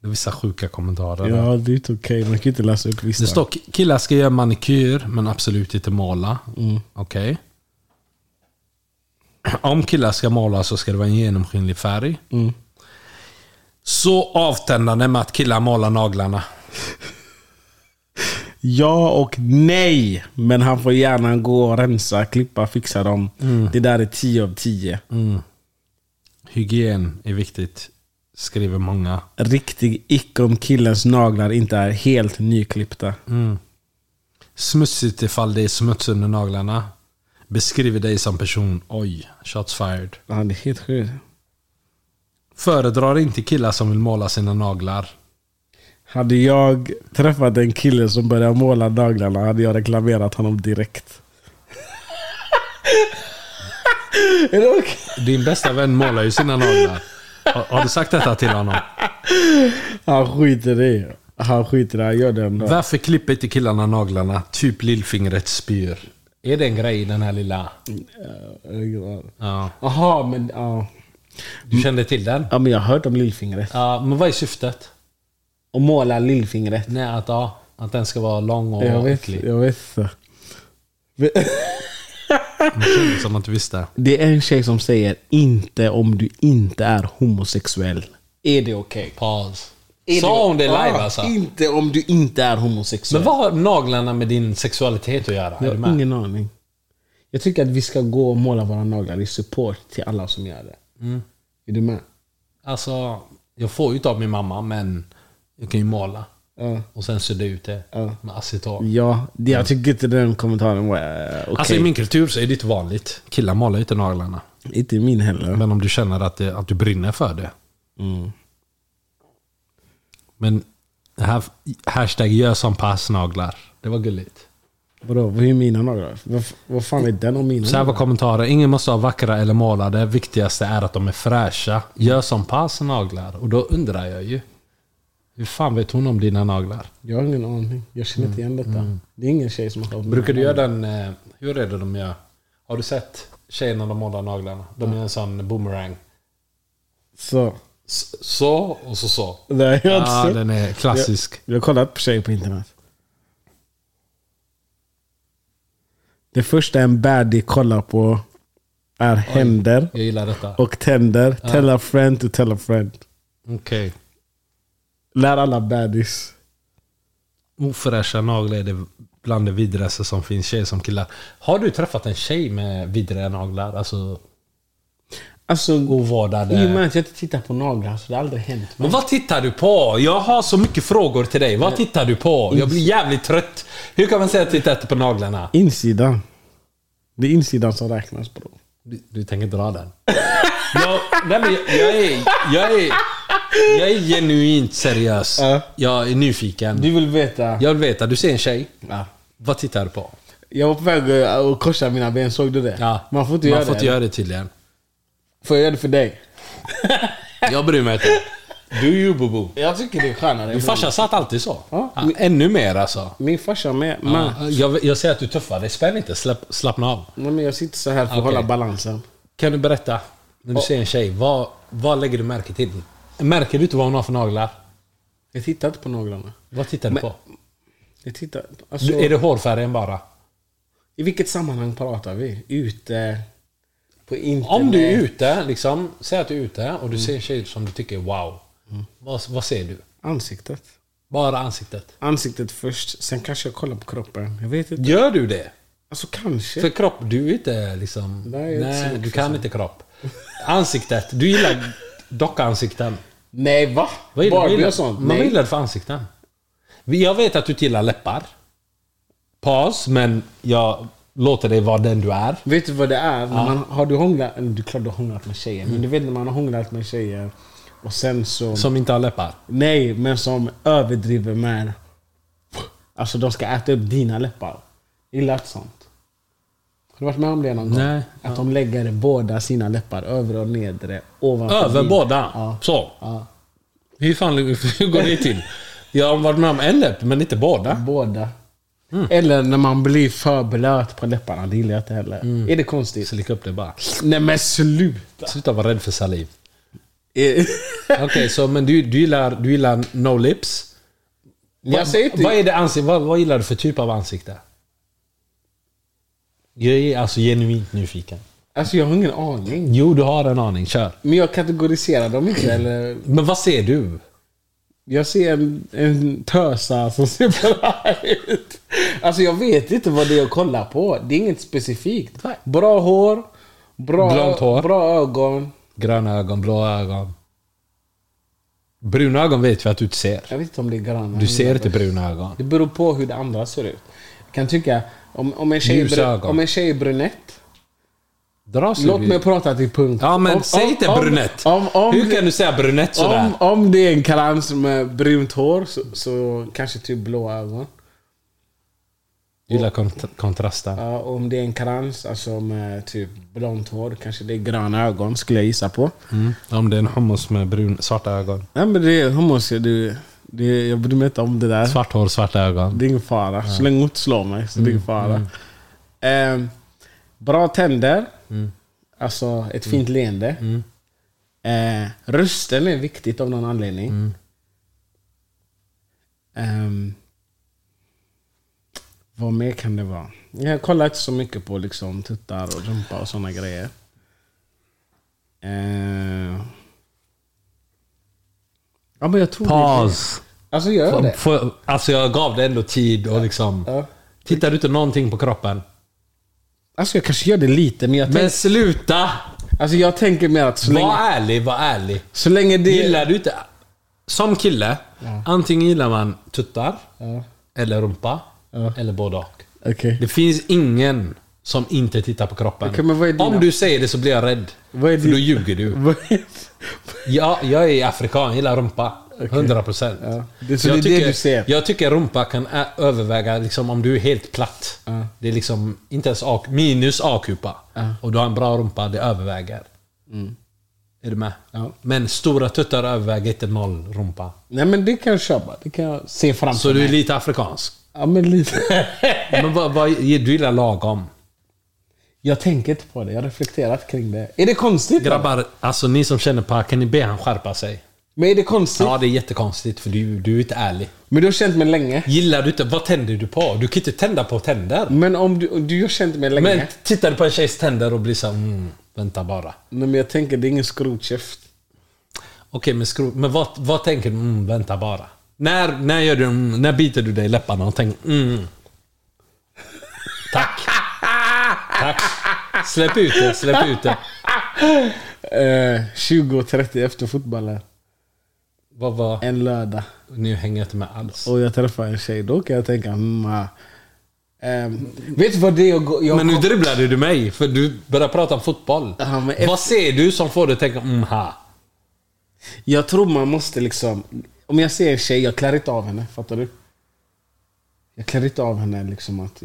S3: Det är vissa sjuka kommentarer. där.
S1: det är inte okej. Man kan inte läsa upp
S3: Det
S1: listan.
S3: står ki- killar ska göra manikyr men absolut inte måla. Okej. Om killar ska måla så ska det vara en genomskinlig färg. Så avtändande med att killar målar naglarna.
S1: Ja och nej. Men han får gärna gå och rensa, klippa, fixa dem. Det där är 10 av 10.
S3: Hygien är viktigt, skriver många.
S1: Riktig ick om killens naglar inte är helt nyklippta.
S3: Smutsigt ifall det är smuts under naglarna. Beskriver dig som person. Oj, shots fired.
S1: Ja, det är helt sjukt.
S3: Föredrar inte killar som vill måla sina naglar.
S1: Hade jag träffat en kille som började måla naglarna hade jag reklamerat honom direkt. Är det okej?
S3: Din bästa vän målar ju sina naglar. Har, har du sagt detta till honom?
S1: Han skiter i det. Han skiter i det. Han gör det ändå.
S3: Varför klipper inte killarna naglarna? Typ lillfingret spyr. Är det en grej i den här lilla... Ja.
S1: Jaha, men ja.
S3: Du kände till den?
S1: ja. men jag har hört om lillfingret.
S3: Ja, men vad är syftet?
S1: Och måla lillfingret.
S3: Nej, att, ja, att den ska vara lång och
S1: Jag vet,
S3: äcklig.
S1: jag vet. inte.
S3: Det kändes som att du visste.
S1: Det är en tjej som säger inte om du inte är homosexuell. Är det okej?
S3: Paus.
S1: Är Ah.
S3: Sa hon det
S1: Ja,
S3: live alltså?
S1: Inte om du inte är
S3: Men
S1: homosexuell.
S3: vad har naglarna med din sexualitet att göra? Är
S1: Jag
S3: du
S1: har
S3: med?
S1: ingen aning. Jag tycker att vi ska gå och måla våra naglar i support till alla som gör det. Är du med?
S3: Alltså, jag får ju ta min mamma men jag kan ju måla.
S1: Ja.
S3: Och sen sudda ut det med aceton.
S1: Ja, det- jag tycker inte den kommentaren var eh, okej.
S3: Alltså i min kultur så är det inte vanligt. Killar målar ju inte naglarna.
S1: Inte min heller.
S3: Men om du känner att, det, att du brinner för det. Mm. Men det här, hashtag gör som pass naglar. Det var gulligt.
S1: Vadå, vad är mina naglar? Vad, vad fan är den och mina?
S3: Så här var kommentarer. Ingen måste ha vackra eller målade. Viktigaste är att de är fräscha. Gör som pass naglar. Och då undrar jag ju. Hur fan vet hon om dina naglar?
S1: Jag har ingen aning. Jag känner inte igen detta. Det är ingen tjej som har haft
S3: Brukar du göra den... eh, Hur är det de gör? Har du sett tjejerna de målar naglarna? De gör en sån boomerang.
S1: Så.
S3: S- Så och så så.
S1: Nej, jag har inte
S3: Ja,
S1: sett.
S3: den är klassisk.
S1: Jag har kollat på tjejer på internet. Det första en baddie kollar på är händer
S3: Jag gillar detta.
S1: och tänder. Tell a friend to tell a friend.
S3: Okej.
S1: Lär alla baddies.
S3: Ofräscha naglar är det bland det vidraste som finns, tjejer som killar. Har du träffat en tjej med vidriga naglar? Alltså
S1: Alltså, i och med
S3: ovårdade?
S1: att jag inte tittar på naglar så det har aldrig hänt mig.
S3: Men vad tittar du på? Jag har så mycket frågor till dig. Vad tittar du på? Jag blir jävligt trött. Hur kan man säga att titta inte på naglarna?
S1: Insidan. Det är insidan som räknas bror.
S3: Du, du tänker dra den? jag, nej men jag, jag, är, jag, är, jag är genuint seriös.
S1: Ja.
S3: Jag är nyfiken.
S1: Du vill veta?
S3: Jag vill veta, du ser en tjej.
S1: Ja.
S3: Vad tittar du på?
S1: Jag var på väg eh, att- att korsa mina ben, såg du det?
S3: Ja,
S1: Man får inte göra det.
S3: göra det tydligen.
S1: Får jag göra det för dig?
S3: Jag bryr mig inte. Do you bobo.
S1: Jag tycker det är skönare.
S3: Min farsa satt alltid så.
S1: Ja.
S3: Ja, Ännu mer alltså.
S1: Min farsa med. Men,
S3: Ja, jag, jag säger att du tuffar dig. Spänn inte. Slapp, slappna av.
S1: nej, men jag sitter så här för att
S3: Okej.
S1: hålla balansen.
S3: Kan du berätta? När du ser en tjej, vad, vad lägger du märke till? Märker du inte vad hon har för naglar?
S1: Jag tittar inte på naglarna.
S3: Vad tittar du
S1: Men-
S3: på?
S1: Jag tittar... Alltså,
S3: Du, är det hårfärgen bara?
S1: I vilket sammanhang pratar vi? Ute? På internet?
S3: Om du är ute, liksom, säg att du är ute och du ser en tjej som du tycker är wow.
S1: Mm.
S3: Vad, vad ser du?
S1: Ansiktet.
S3: Bara ansiktet.
S1: Ansiktet först, sen kanske jag kollar på kroppen. Jag vet inte.
S3: Gör du det?
S1: Alltså kanske.
S3: För kropp, du är inte liksom...
S1: Nej, jag är inte så mycket
S3: du
S1: för
S3: kan inte kropp. Ansiktet, du gillar dockansikten.
S1: Nej va?
S3: Vad gillar,
S1: Barbie
S3: gillar,
S1: och sånt?
S3: Men vad
S1: Nej.
S3: gillar du för ansikten? Vi- Jag vet att du inte gillar läppar. Paus, men jag låter dig vara den du är.
S1: Vet du vad det är? När man, har du hånglat... eller, Du klart du har hånglat med tjejer.
S3: Mm.
S1: Men du vet när man har hånglat med tjejer och sen så...
S3: Som inte har läppar.
S1: Nej, men som överdriver med... Alltså de ska äta upp dina läppar. Gillar inte sånt. Har du varit med om det någon gång?
S3: Nej.
S1: Att de lägger båda sina läppar, övre och nedre, ovanför
S3: Över
S1: din.
S3: båda?
S1: Ja.
S3: Så?
S1: Ja.
S3: Hur fan hur går det till? Jag har varit med om en läpp, men inte båda.
S1: Båda. Eller när man blir för blöt på läpparna. Det gillar jag inte heller.
S3: Mm.
S1: Är det konstigt?
S3: Slicka upp det bara.
S1: Nej men sluta!
S3: Sluta vara rädd för saliv.
S1: Eh,
S3: Okej, så men du, du, gillar, du gillar no lips?
S1: jag säger inte...
S3: Vad, är det ansikte, vad, vad gillar du för typ av ansikte? Jag är alltså genuint nyfiken.
S1: Alltså jag har ingen aning.
S3: Jo, du har en aning. Kör.
S1: Men jag kategoriserar dem inte. Eller...
S3: Men vad ser du?
S1: Jag ser en, en tösa som ser bra ut. Alltså jag vet inte vad det är jag kollar på. Det är inget specifikt.
S3: Nej.
S1: Bra hår, bra,
S3: Blont hår.
S1: bra ögon.
S3: Gröna ögon, blå ögon. Bruna ögon vet vi att du inte ser.
S1: Jag vet inte om det är grannar.
S3: Du ser inte bruna ögon.
S1: Det beror på hur det andra ser ut. Jag kan tycka, om, om, en, tjej är
S3: Ljusa
S1: bru-
S3: ögon.
S1: om en tjej är brunett.
S3: Dras du?
S1: Låt mig prata till punkt.
S3: Ja, men
S1: om,
S3: säg
S1: om-
S3: inte
S1: om-
S3: brunett.
S1: Om, om,
S3: Hur kan du säga brunett sådär?
S1: om, om det är en krans med brunt hår så, så kanske typ blå ögon.
S3: Du gillar kont- kontrasten.
S1: Ja, om det är en krans, alltså med typ blont hår, kanske det är gröna ögon skulle jag gissa på.
S3: Mm. Om det är en homos med brun, svarta ögon.
S1: Nej men det är homos, du, det, jag bryr mig inte om det där.
S3: Svart hår, svarta ögon.
S1: Det är ingen fara. Så länge hon inte slår mig så det är ingen fara. Ehm, bra tänder, alltså ett fint leende. Eh, rösten är viktigt av någon anledning. Ehm, vad mer kan det vara? Jag kollar inte så mycket på liksom tuttar och rumpa och sådana grejer. Eh, ja, men jag tror det.
S3: Paus.
S1: Alltså gör jag det?
S3: Får- Alltså jag gav det ändå tid och liksom...
S1: Ja.
S3: Tittar du inte någonting på kroppen?
S1: Alltså jag kanske gör det lite, men jag, tänk,
S3: Men sluta!
S1: alltså jag tänker mer att så
S3: Var
S1: länge,
S3: ärlig, var ärlig.
S1: så länge det...
S3: Gillar du inte... Som kille, antingen gillar man tuttar,
S1: Ja,
S3: eller rumpa, eller både och.
S1: Okej.
S3: Det finns ingen som inte tittar på kroppen.
S1: Okej, men vad är dina-
S3: Om du säger det så blir jag rädd.
S1: Vad är
S3: för då
S1: din-
S3: ljuger du.
S1: Vad-
S3: Ja, jag är afrikan, gillar rumpa. 100 procent.
S1: Ja. Det- så det är det du ser?
S3: Jag tycker rumpa kan ä- överväga liksom, om du är helt platt. Det är liksom inte ens A, minus A-kupa. Och du har en bra rumpa, det överväger. Är du med?
S1: Mm. Ja.
S3: Men stora tuttar överväger inte noll rumpa.
S1: Nej men det kan jag köpa. Det kan jag se framför
S3: Så du
S1: mig.
S3: är lite afrikansk.
S1: Ja men lite.
S3: Men vad, vad, du gillar lagom.
S1: jag tänker inte på det. Jag har reflekterat kring det. Är det konstigt? då?
S3: Grabbar, alltså ni som känner på kan ni be han skärpa sig?
S1: Men är det konstigt?
S3: Ja, det är jättekonstigt för du, du är inte ärlig.
S1: Men du har känt mig länge.
S3: Gillar du inte, vad tänder du på? Du kan inte tända på tänder.
S1: Men om du, du har känt mig länge.
S3: Men tittar du på en tjejs tänder och blir så här, mm, vänta bara.
S1: Nej, men jag tänker det är ingen skrotkäft.
S3: Okej, men, skro- men vad, vad tänker du? Mm, vänta bara. När, när, gör du, mm, när biter du dig i läpparna och tänker mm. Tack. Tack. Släpp ut det, släpp ut det.
S1: Eh, 20.30 efter fotbollen.
S3: Vad var...
S1: En lördag.
S3: Nu hänger jag inte med alls.
S1: Och jag träffar en tjej. Då kan jag tänka, mm, ah, ehm, Vet du vad det är jag, går- jag
S3: Men nu dribblade du mig, för du började prata om fotboll.
S1: Ja, men efter-
S3: Vad ser du som får dig att tänka mm, ha?
S1: Jag tror man måste liksom... Om jag ser en tjej, jag klär inte av henne. Fattar du? Jag klär inte av henne liksom att...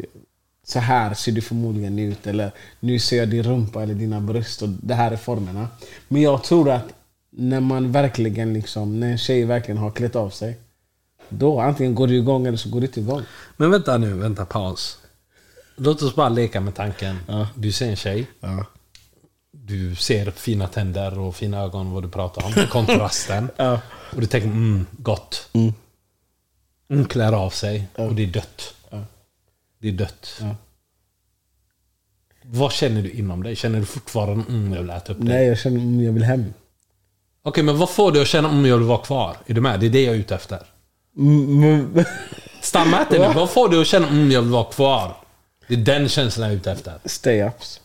S1: Så här ser du förmodligen ut. Eller nu ser jag din rumpa eller dina bröst. Och det här är formerna. Men jag tror att när man verkligen liksom... När en tjej verkligen har klätt av sig. Då antingen går du igång eller så går du inte igång.
S3: Men vänta nu, vänta paus. Låt oss bara leka med tanken. Du ser en tjej.
S1: Ja.
S3: Du ser fina tänder och fina ögon, vad du pratar om. Kontrasten. Och du tänker, mm, gott. Mm. klär av sig och det är dött. Det är dött. Vad känner du inom dig? Känner du fortfarande, mm, jag vill äta upp det?
S1: Nej, jag känner mm, jag vill hem.
S3: Okej, men vad får du att känna, mm, jag vill vara kvar? Är du med? Det är det jag är ute efter.
S1: Mm, men-
S3: Stanna inte nu. Vad får du att känna, mm, jag vill vara kvar? Det är den känslan jag är ute efter.
S1: Stay-ups.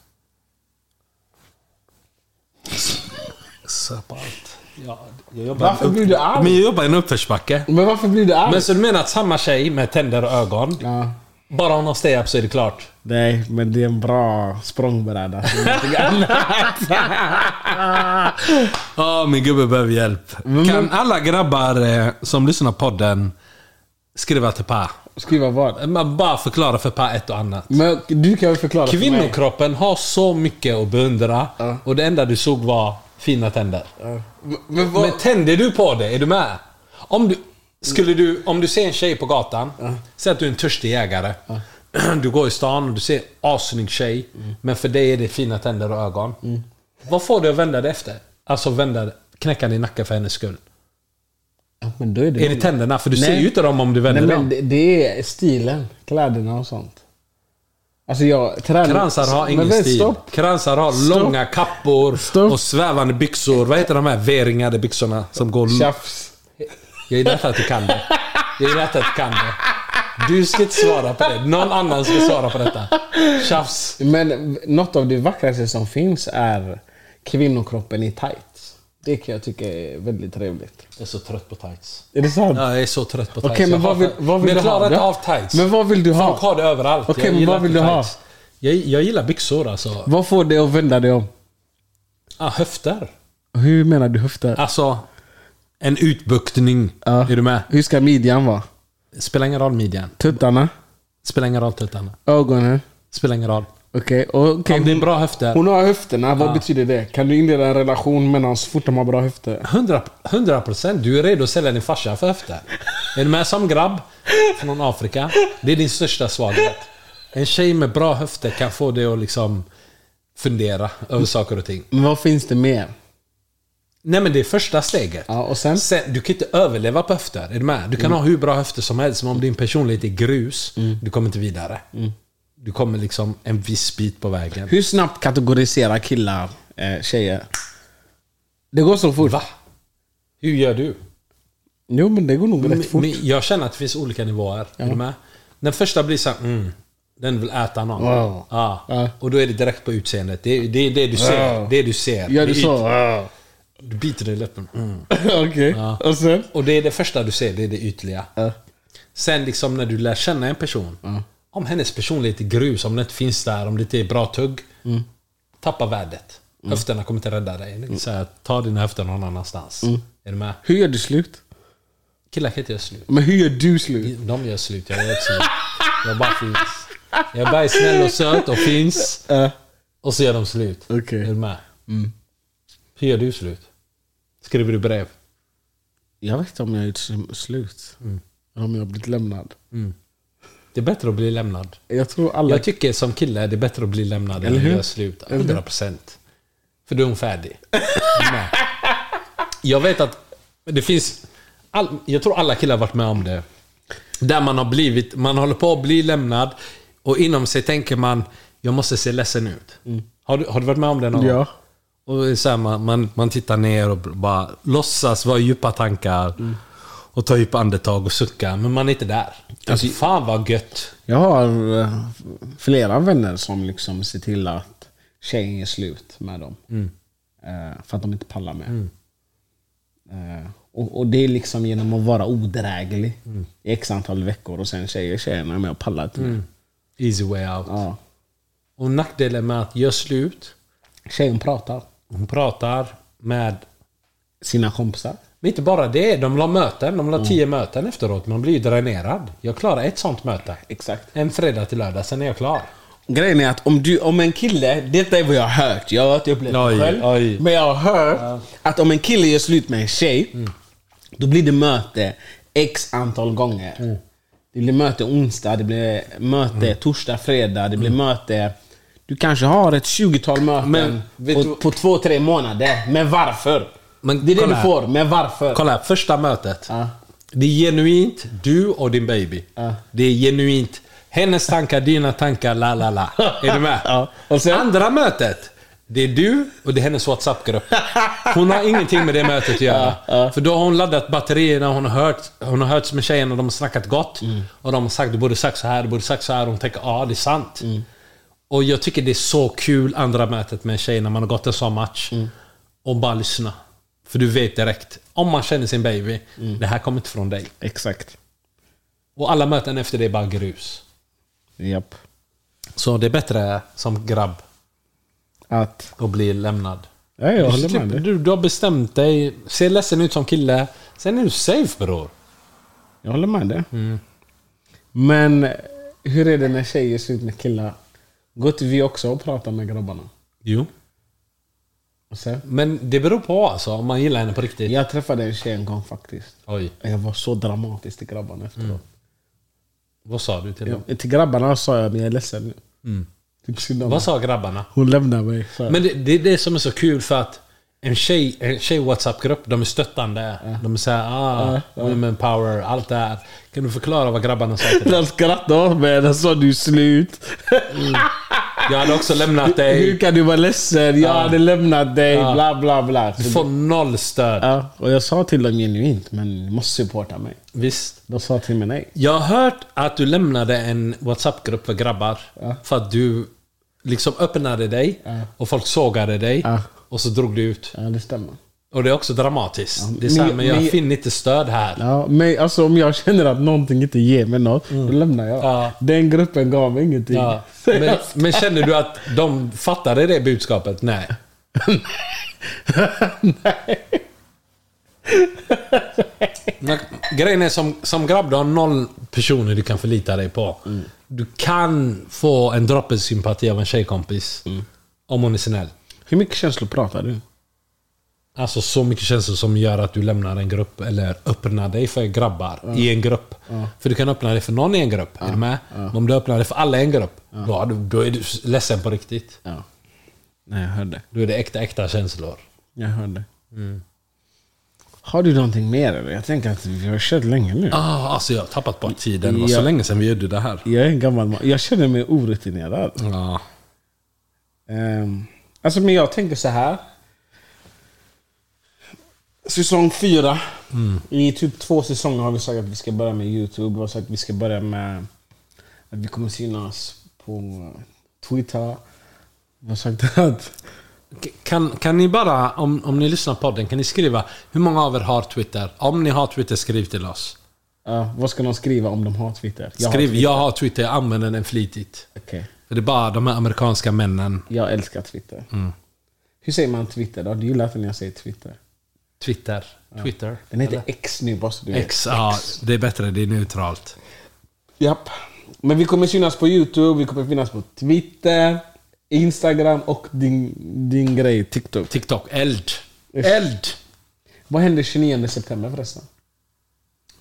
S3: Söp allt. Ja, jag jobbar
S1: Varför blir du arg?
S3: Men jag jobbar i en uppförsbacke.
S1: Men varför blir du arg?
S3: Men så du menar att samma tjej med tänder och ögon,
S1: Ja.
S3: bara hon har stay-up så är det klart?
S1: Nej, men det är en bra språngbräda. Det alltså. är någonting annat.
S3: Ja, min gubbe behöver hjälp. Kan alla grabbar eh, som lyssnar på podden skriva till Pa?
S1: Skriva vad?
S3: Man bara förklara för Pa ett och annat.
S1: Men du kan väl förklara för mig?
S3: Kvinnokroppen har så mycket att beundra
S1: Ja.
S3: och det enda du såg var fina tänder.
S1: Men, men vad?
S3: Men tänder du på det? Är du med? Om du, skulle du, om du ser en tjej på gatan, säg att du är en törstig jägare. Du går i stan och du ser en assnygg tjej,
S1: Mm.
S3: men för dig är det fina tänder och ögon. Vad får du att vända dig efter? Alltså vända, knäcka din nacke för hennes skull.
S1: Ja, men då är det...
S3: Är det tänderna? För du
S1: Mm. Nej.
S3: ser ju inte dem om du vänder
S1: Nej,
S3: dem.
S1: men det, det är stilen. Kläderna och sånt. Alltså jag... Trän...
S3: Kransar har ingen
S1: men, vänta,
S3: stil.
S1: Stopp.
S3: Kransar har
S1: Stopp.
S3: långa kappor
S1: Stopp.
S3: och svävande byxor. Vad heter de här V-ringade byxorna som går...
S1: Tjafs.
S3: Jag gillar inte att du kan det. Jag gillar inte att du kan det. Du ska inte svara på det. Någon annan ska svara på detta. Tjafs.
S1: Men något av det vackraste som finns är kvinnokroppen i tights. Det kan jag tycka är väldigt trevligt.
S3: Jag är så trött på tights.
S1: Är det sant?
S3: Ja, jag är så trött på tights.
S1: Okej, men
S3: Jag
S1: vad vill,
S3: hatar-
S1: vad
S3: men
S1: vill
S3: jag
S1: du ha?
S3: klarar inte
S1: Ja.
S3: av tights.
S1: Men vad vill du ha?
S3: Folk har det överallt.
S1: Okej,
S3: Jag
S1: men
S3: gillar
S1: vad vill
S3: inte
S1: du ha?
S3: tights. Jag, jag gillar byxor alltså.
S1: Vad får dig att vända dig om?
S3: Ah, höfter.
S1: Hur menar du höfter?
S3: Alltså, en utbuktning.
S1: Ja.
S3: Är du med?
S1: Hur ska midjan vara?
S3: Spelar ingen roll midjan.
S1: Tuttarna?
S3: Spelar ingen roll tuttarna.
S1: Ögonen?
S3: Spelar ingen roll.
S1: Okej, och okej.
S3: Om det är en bra höfter.
S1: Hon har höfterna, vad betyder det? Kan du inleda en relation med någon så fort de har bra höfter?
S3: 100%, 100% du är redo att sälja din farsa för höfter. Är du med som grabb från Afrika? Det är din största svaghet. En tjej med bra höfter kan få dig att liksom fundera över saker och ting.
S1: Men vad finns det mer?
S3: Nej men det är första steget.
S1: Ja, och sen?
S3: Sen, du kan inte överleva på höfter. Är du med? Du kan ha hur bra höfter som helst, men om din personlighet är grus, du kommer inte vidare. Du kommer liksom en viss bit på vägen.
S1: Hur snabbt kategoriserar killar eh, tjejer? Det går så fort.
S3: Va? Hur gör du?
S1: Jo, men det går nog rätt fort.
S3: Men jag känner att det finns olika nivåer. Är du med? Den första blir såhär, mm, den vill äta någon.
S1: Wow.
S3: Ja.
S1: Ja.
S3: Och då är det direkt på utseendet. Det är det, är det du ser.
S1: Wow.
S3: Det är du ser.
S1: Gör
S3: Det
S1: du
S3: är
S1: så?
S3: yt-
S1: Ah.
S3: Du biter dig i läppen. Mm.
S1: Okej, och sen?
S3: Och det är det första du ser, det är det ytliga. Sen liksom när du lär känna en person. Om hennes personlighet är grus, om det inte finns där, om det inte är bra tugg.
S1: Mm.
S3: Tappa värdet. Höfterna kommer inte rädda dig. Det är Så här, ta dina höfter någon annanstans.
S1: Mm.
S3: Är du med?
S1: Hur gör du slut?
S3: Killar kan inte göra slut.
S1: Men hur gör du slut?
S3: De gör slut, jag gör också slut. Jag bara finns. Jag bara är snäll och söt och finns.
S1: Ja.
S3: Och så gör de slut.
S1: Okej. Mm.
S3: Är du med? Hur gör du slut? Skriver du brev?
S1: Jag vet inte om jag har gjort sl- slut. Eller om Mm. jag har blivit lämnad.
S3: Det är bättre att bli lämnad.
S1: Jag tror alla...
S3: Jag tycker som kille är det bättre att bli lämnad än
S1: Eller
S3: att
S1: hur?
S3: göra slut. 100 procent. För då är hon färdig. Men jag vet att det finns... All, jag tror alla killar har varit med om det. Där man har blivit... Man håller på att bli lämnad och inom sig tänker man jag måste se ledsen ut. Har, du, har du varit med om det någon gång?
S1: Mm. Ja.
S3: Och det är så här, man, man, man tittar ner och bara låtsas vara i djupa tankar.
S1: Mm.
S3: Och tar djupa andetag och suckar, men man är inte där. Alltså, fan vad gött.
S1: Jag har eh, flera vänner som liksom ser till att tjejen är slut med dem. Eh, För att de inte pallar med. Eh, Och, och det är liksom genom att vara odräglig i x antal veckor och sen säger tjejen "Nej, men jag pallar inte mer.
S3: Easy way out.
S1: Ja.
S3: Och nackdelen med att göra slut,
S1: Tjejen pratar.
S3: hon pratar med...
S1: Sina kompisar.
S3: Men inte bara det, de la möten, de la tio
S1: Mm.
S3: möten efteråt. Man blir ju dränerad. Jag klarar ett sånt möte.
S1: Exakt.
S3: En fredag till lördag, sen är jag klar.
S1: Grejen är att om, du, om en kille, detta är vad jag har hört, jag har inte upplevt
S3: Oj,
S1: det själv.
S3: oj.
S1: Men jag har hört att om en kille gör slut med en tjej,
S3: Mm.
S1: då blir det möte x antal gånger.
S3: Mm.
S1: Det blir möte onsdag, det blir möte torsdag, fredag, det blir möte... Du kanske har ett 20-tal möten
S3: Mm. Men, vet
S1: på,
S3: du-
S1: på två, tre månader. Men varför?
S3: Men
S1: det är det
S3: kolla
S1: du
S3: här.
S1: får, men varför?
S3: Kolla här, första mötet.
S1: Ja.
S3: Det är genuint du och din baby.
S1: Ja.
S3: Det är genuint hennes tankar, dina tankar, la la la. Är du med?
S1: Ja. Och sen-
S3: Andra mötet. Det är du och det är hennes WhatsApp-grupp. Hon har ingenting med det mötet att göra. För då har hon laddat batterierna, hon har, hört, hon har hörts med tjejerna, de har snackat gott.
S1: Mm.
S3: Och de har sagt du borde sagt så här, du borde sagt så här. Och hon tänker ja, det är sant.
S1: Mm.
S3: Och jag tycker det är så kul andra mötet med en tjej när man har gått en sån match.
S1: Mm.
S3: Och bara lyssna. För du vet direkt, om man känner sin baby,
S1: Mm.
S3: det här kommer inte från dig.
S1: Exakt.
S3: Och alla möten efter det är bara grus.
S1: Japp.
S3: Så det är bättre som grabb
S1: Att...
S3: att bli lämnad.
S1: Ja, jag
S3: du,
S1: håller med
S3: slipper-
S1: dig.
S3: typ, du, du har bestämt dig, ser ledsen ut som kille, sen är du safe bror.
S1: Jag håller med dig.
S3: Mm.
S1: Men hur är det när tjejer ser ut med killar? Går inte vi också och pratar med grabbarna?
S3: Jo.
S1: Och sen,
S3: Men det beror på alltså, om man gillar henne på riktigt.
S1: jag träffade en tjej en gång faktiskt.
S3: Oj,
S1: Jag var så dramatisk till grabbarna efteråt.
S3: Mm. vad sa du till dem?
S1: Ja, till grabbarna sa jag att jag är ledsen nu. Typ synd om mig.
S3: Mm. Vad sa grabbarna?
S1: Hon lämnar mig. sa jag.
S3: Men det, det är det som är så kul för att en tjej, en tjej WhatsApp-grupp, de är stöttande. De är såhär ah, women power, allt det här. Kan du förklara vad grabbarna sa till dig?
S1: de skrattade åt mig. De sa du är slut.
S3: Jag hade också lämnat
S1: Hur
S3: dig.
S1: kan du vara ledsen? Jag hade lämnat dig.
S3: Ja.
S1: Bla bla bla.
S3: Du får noll stöd.
S1: Ja, och jag sa till dem genuint, men ni måste supporta mig.
S3: Visst.
S1: De sa till mig nej.
S3: Jag har hört att du lämnade en WhatsApp-grupp för grabbar. För att du liksom öppnade dig och folk sågade dig.
S1: Ja.
S3: Och så drog du ut.
S1: Ja, det stämmer.
S3: Och det är också dramatiskt. det är såhär,
S1: men-
S3: men jag
S1: men-
S3: finner inte stöd här.
S1: Ja, men alltså om jag känner att någonting inte ger mig något, då lämnar jag.
S3: Mm. Ja.
S1: Den gruppen gav mig ingenting.
S3: Ja. Men, men känner du att de fattade det budskapet? Nej. Men Grejen är som, som grabb, du har noll personer du kan förlita dig på. Du kan få en droppe sympati av en tjejkompis. Om hon är snäll.
S1: Hur mycket känslor pratar du?
S3: Alltså så mycket känslor som gör att du lämnar en grupp eller öppnar dig för grabbar i en grupp. För du kan öppna dig för någon i en grupp. Är du med? Men om du öppnar dig för alla i en grupp, då, har du, då är du ledsen på riktigt.
S1: Ja. Nej, jag hörde.
S3: Då är det äkta, äkta känslor.
S1: Jag hörde.
S3: Mm.
S1: Har du någonting mer eller? Jag tänker att vi har kört länge nu.
S3: Ah, alltså jag har tappat bort tiden. Det var så
S1: Ja.
S3: länge sedan vi gjorde det här.
S1: Jag är en gammal man. Jag känner mig orutinerad.
S3: Ja.
S1: Ehm, alltså, men jag tänker så här. Säsong fyra.
S3: Mm.
S1: I typ två säsonger har vi sagt att vi ska börja med YouTube. Vi har sagt att vi ska börja med att vi kommer synas på Twitter. Vi har sagt att...
S3: K- Kan, kan ni bara, om, om ni lyssnar på podden, kan ni skriva hur många av er har Twitter? Om ni har Twitter, skriv till oss.
S1: Ja, vad ska de skriva om de har Twitter? Jag har
S3: Skriv,
S1: Twitter.
S3: jag har Twitter, jag använder den flitigt.
S1: Okej.
S3: För det är bara de här amerikanska männen.
S1: Jag älskar Twitter.
S3: Mm.
S1: Hur säger man Twitter då? Du gillar inte när jag säger Twitter.
S3: Twitter. Twitter.
S1: Den heter X nu bara så du vet.
S3: X, ja, det är bättre, det är neutralt.
S1: Japp. Men vi kommer synas på YouTube, vi kommer finnas på Twitter, Instagram och din, din grej, TikTok.
S3: TikTok. Eld. Eld!
S1: Vad händer 29 september förresten?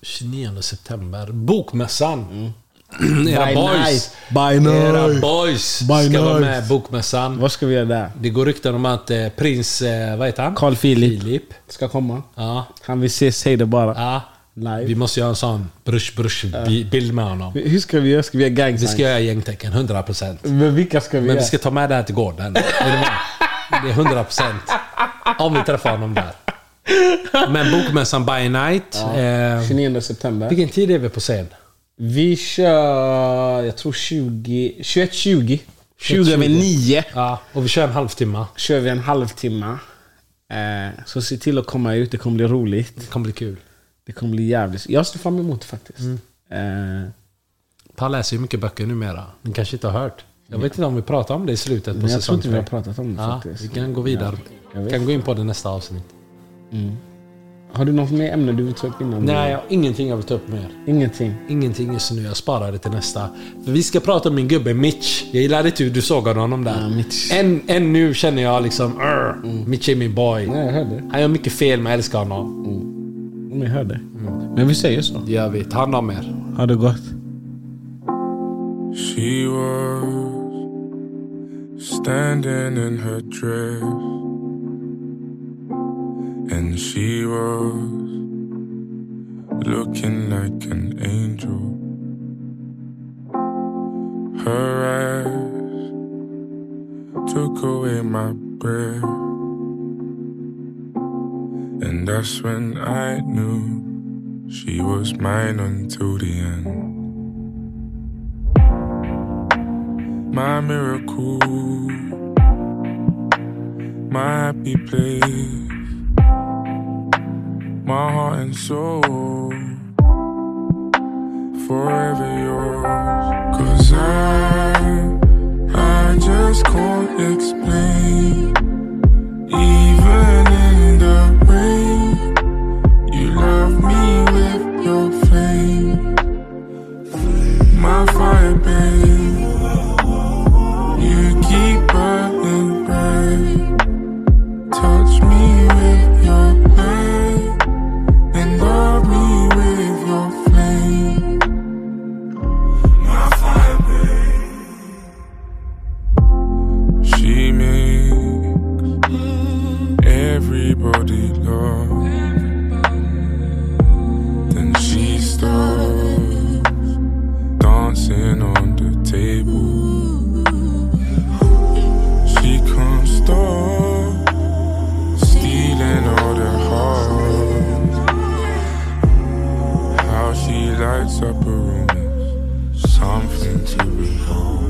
S3: 29 september. Bokmässan. Era
S1: Mm. By
S3: boys.
S1: night. By
S3: Era
S1: night.
S3: boys ska
S1: By
S3: vara
S1: night.
S3: med i Bokmässan.
S1: Vad ska vi göra där?
S3: Det går rykten om att eh, prins... Eh, vad heter han?
S1: Carl Philip.
S3: Philip.
S1: Ska komma.
S3: Ja.
S1: Han vill se, säg det bara.
S3: ja.
S1: Live.
S3: Vi måste göra en sån brush brush bi- bild med honom.
S1: Hur ska vi göra? Ska vi göra gang
S3: Vi
S1: sign?
S3: ska göra gängtecken, 100%.
S1: Men vilka ska vi
S3: Men
S1: göra?
S3: vi ska ta med det här till gården. Är du med? Det är 100 procent. Om vi träffar honom där. Men bokmässan by night. Eh,
S1: 29 september.
S3: vilken tid är vi på scen?
S1: Vi kör, jag tror 20, 21.20. 20 över 9
S3: Ja, och vi kör en halvtimme.
S1: kör vi en halvtimme. Eh, så se till att komma ut, det kommer bli roligt.
S3: Det kommer bli kul.
S1: Det kommer bli jävligt... Jag ser fram emot det faktiskt. Eh,
S3: Per läser ju mycket böcker numera. Ni kanske inte har hört. Jag vet inte om vi pratar om det i slutet på
S1: men jag tror
S3: säsong
S1: inte vi har
S3: tre.
S1: pratat om det
S3: Ja, vi
S1: faktiskt.
S3: kan gå vidare.
S1: jag
S3: Vi
S1: vet.
S3: kan gå in på det nästa avsnitt.
S1: Har du något mer ämne du vill ta upp innan?
S3: Nej, jag har ingenting jag vill ta upp mer.
S1: Ingenting.
S3: Ingenting just nu. Jag sparar det till nästa. För vi ska prata om min gubbe Mitch. Jag gillar inte hur du sågade honom där.
S1: Ja, Mitch.
S3: Än, än nu känner jag liksom... "Arr, Mitch är min boy.
S1: Nej, jag hörde.
S3: Han gör mycket fel, men jag älskar honom.
S1: Men jag hörde.
S3: Mm.
S1: Men vi säger så.
S3: Jag vet. Ta hand om er.
S1: Ha det gott.
S5: She was standing in her dress, and she was looking like an angel. Her eyes took away my breath, and that's when I knew she was mine until the end. my miracle, my happy place, my heart and soul, forever yours. Cause I, I just can't explain, even in the rain, you love me with your flame, my fire, babe. You keep burning bright. Touch me with your light and love me with your flame. My fire, babe. She makes everybody love. Then she starts dancing on the table. She can't stop stealing all the hearts. How she lights up a room, is something to behold.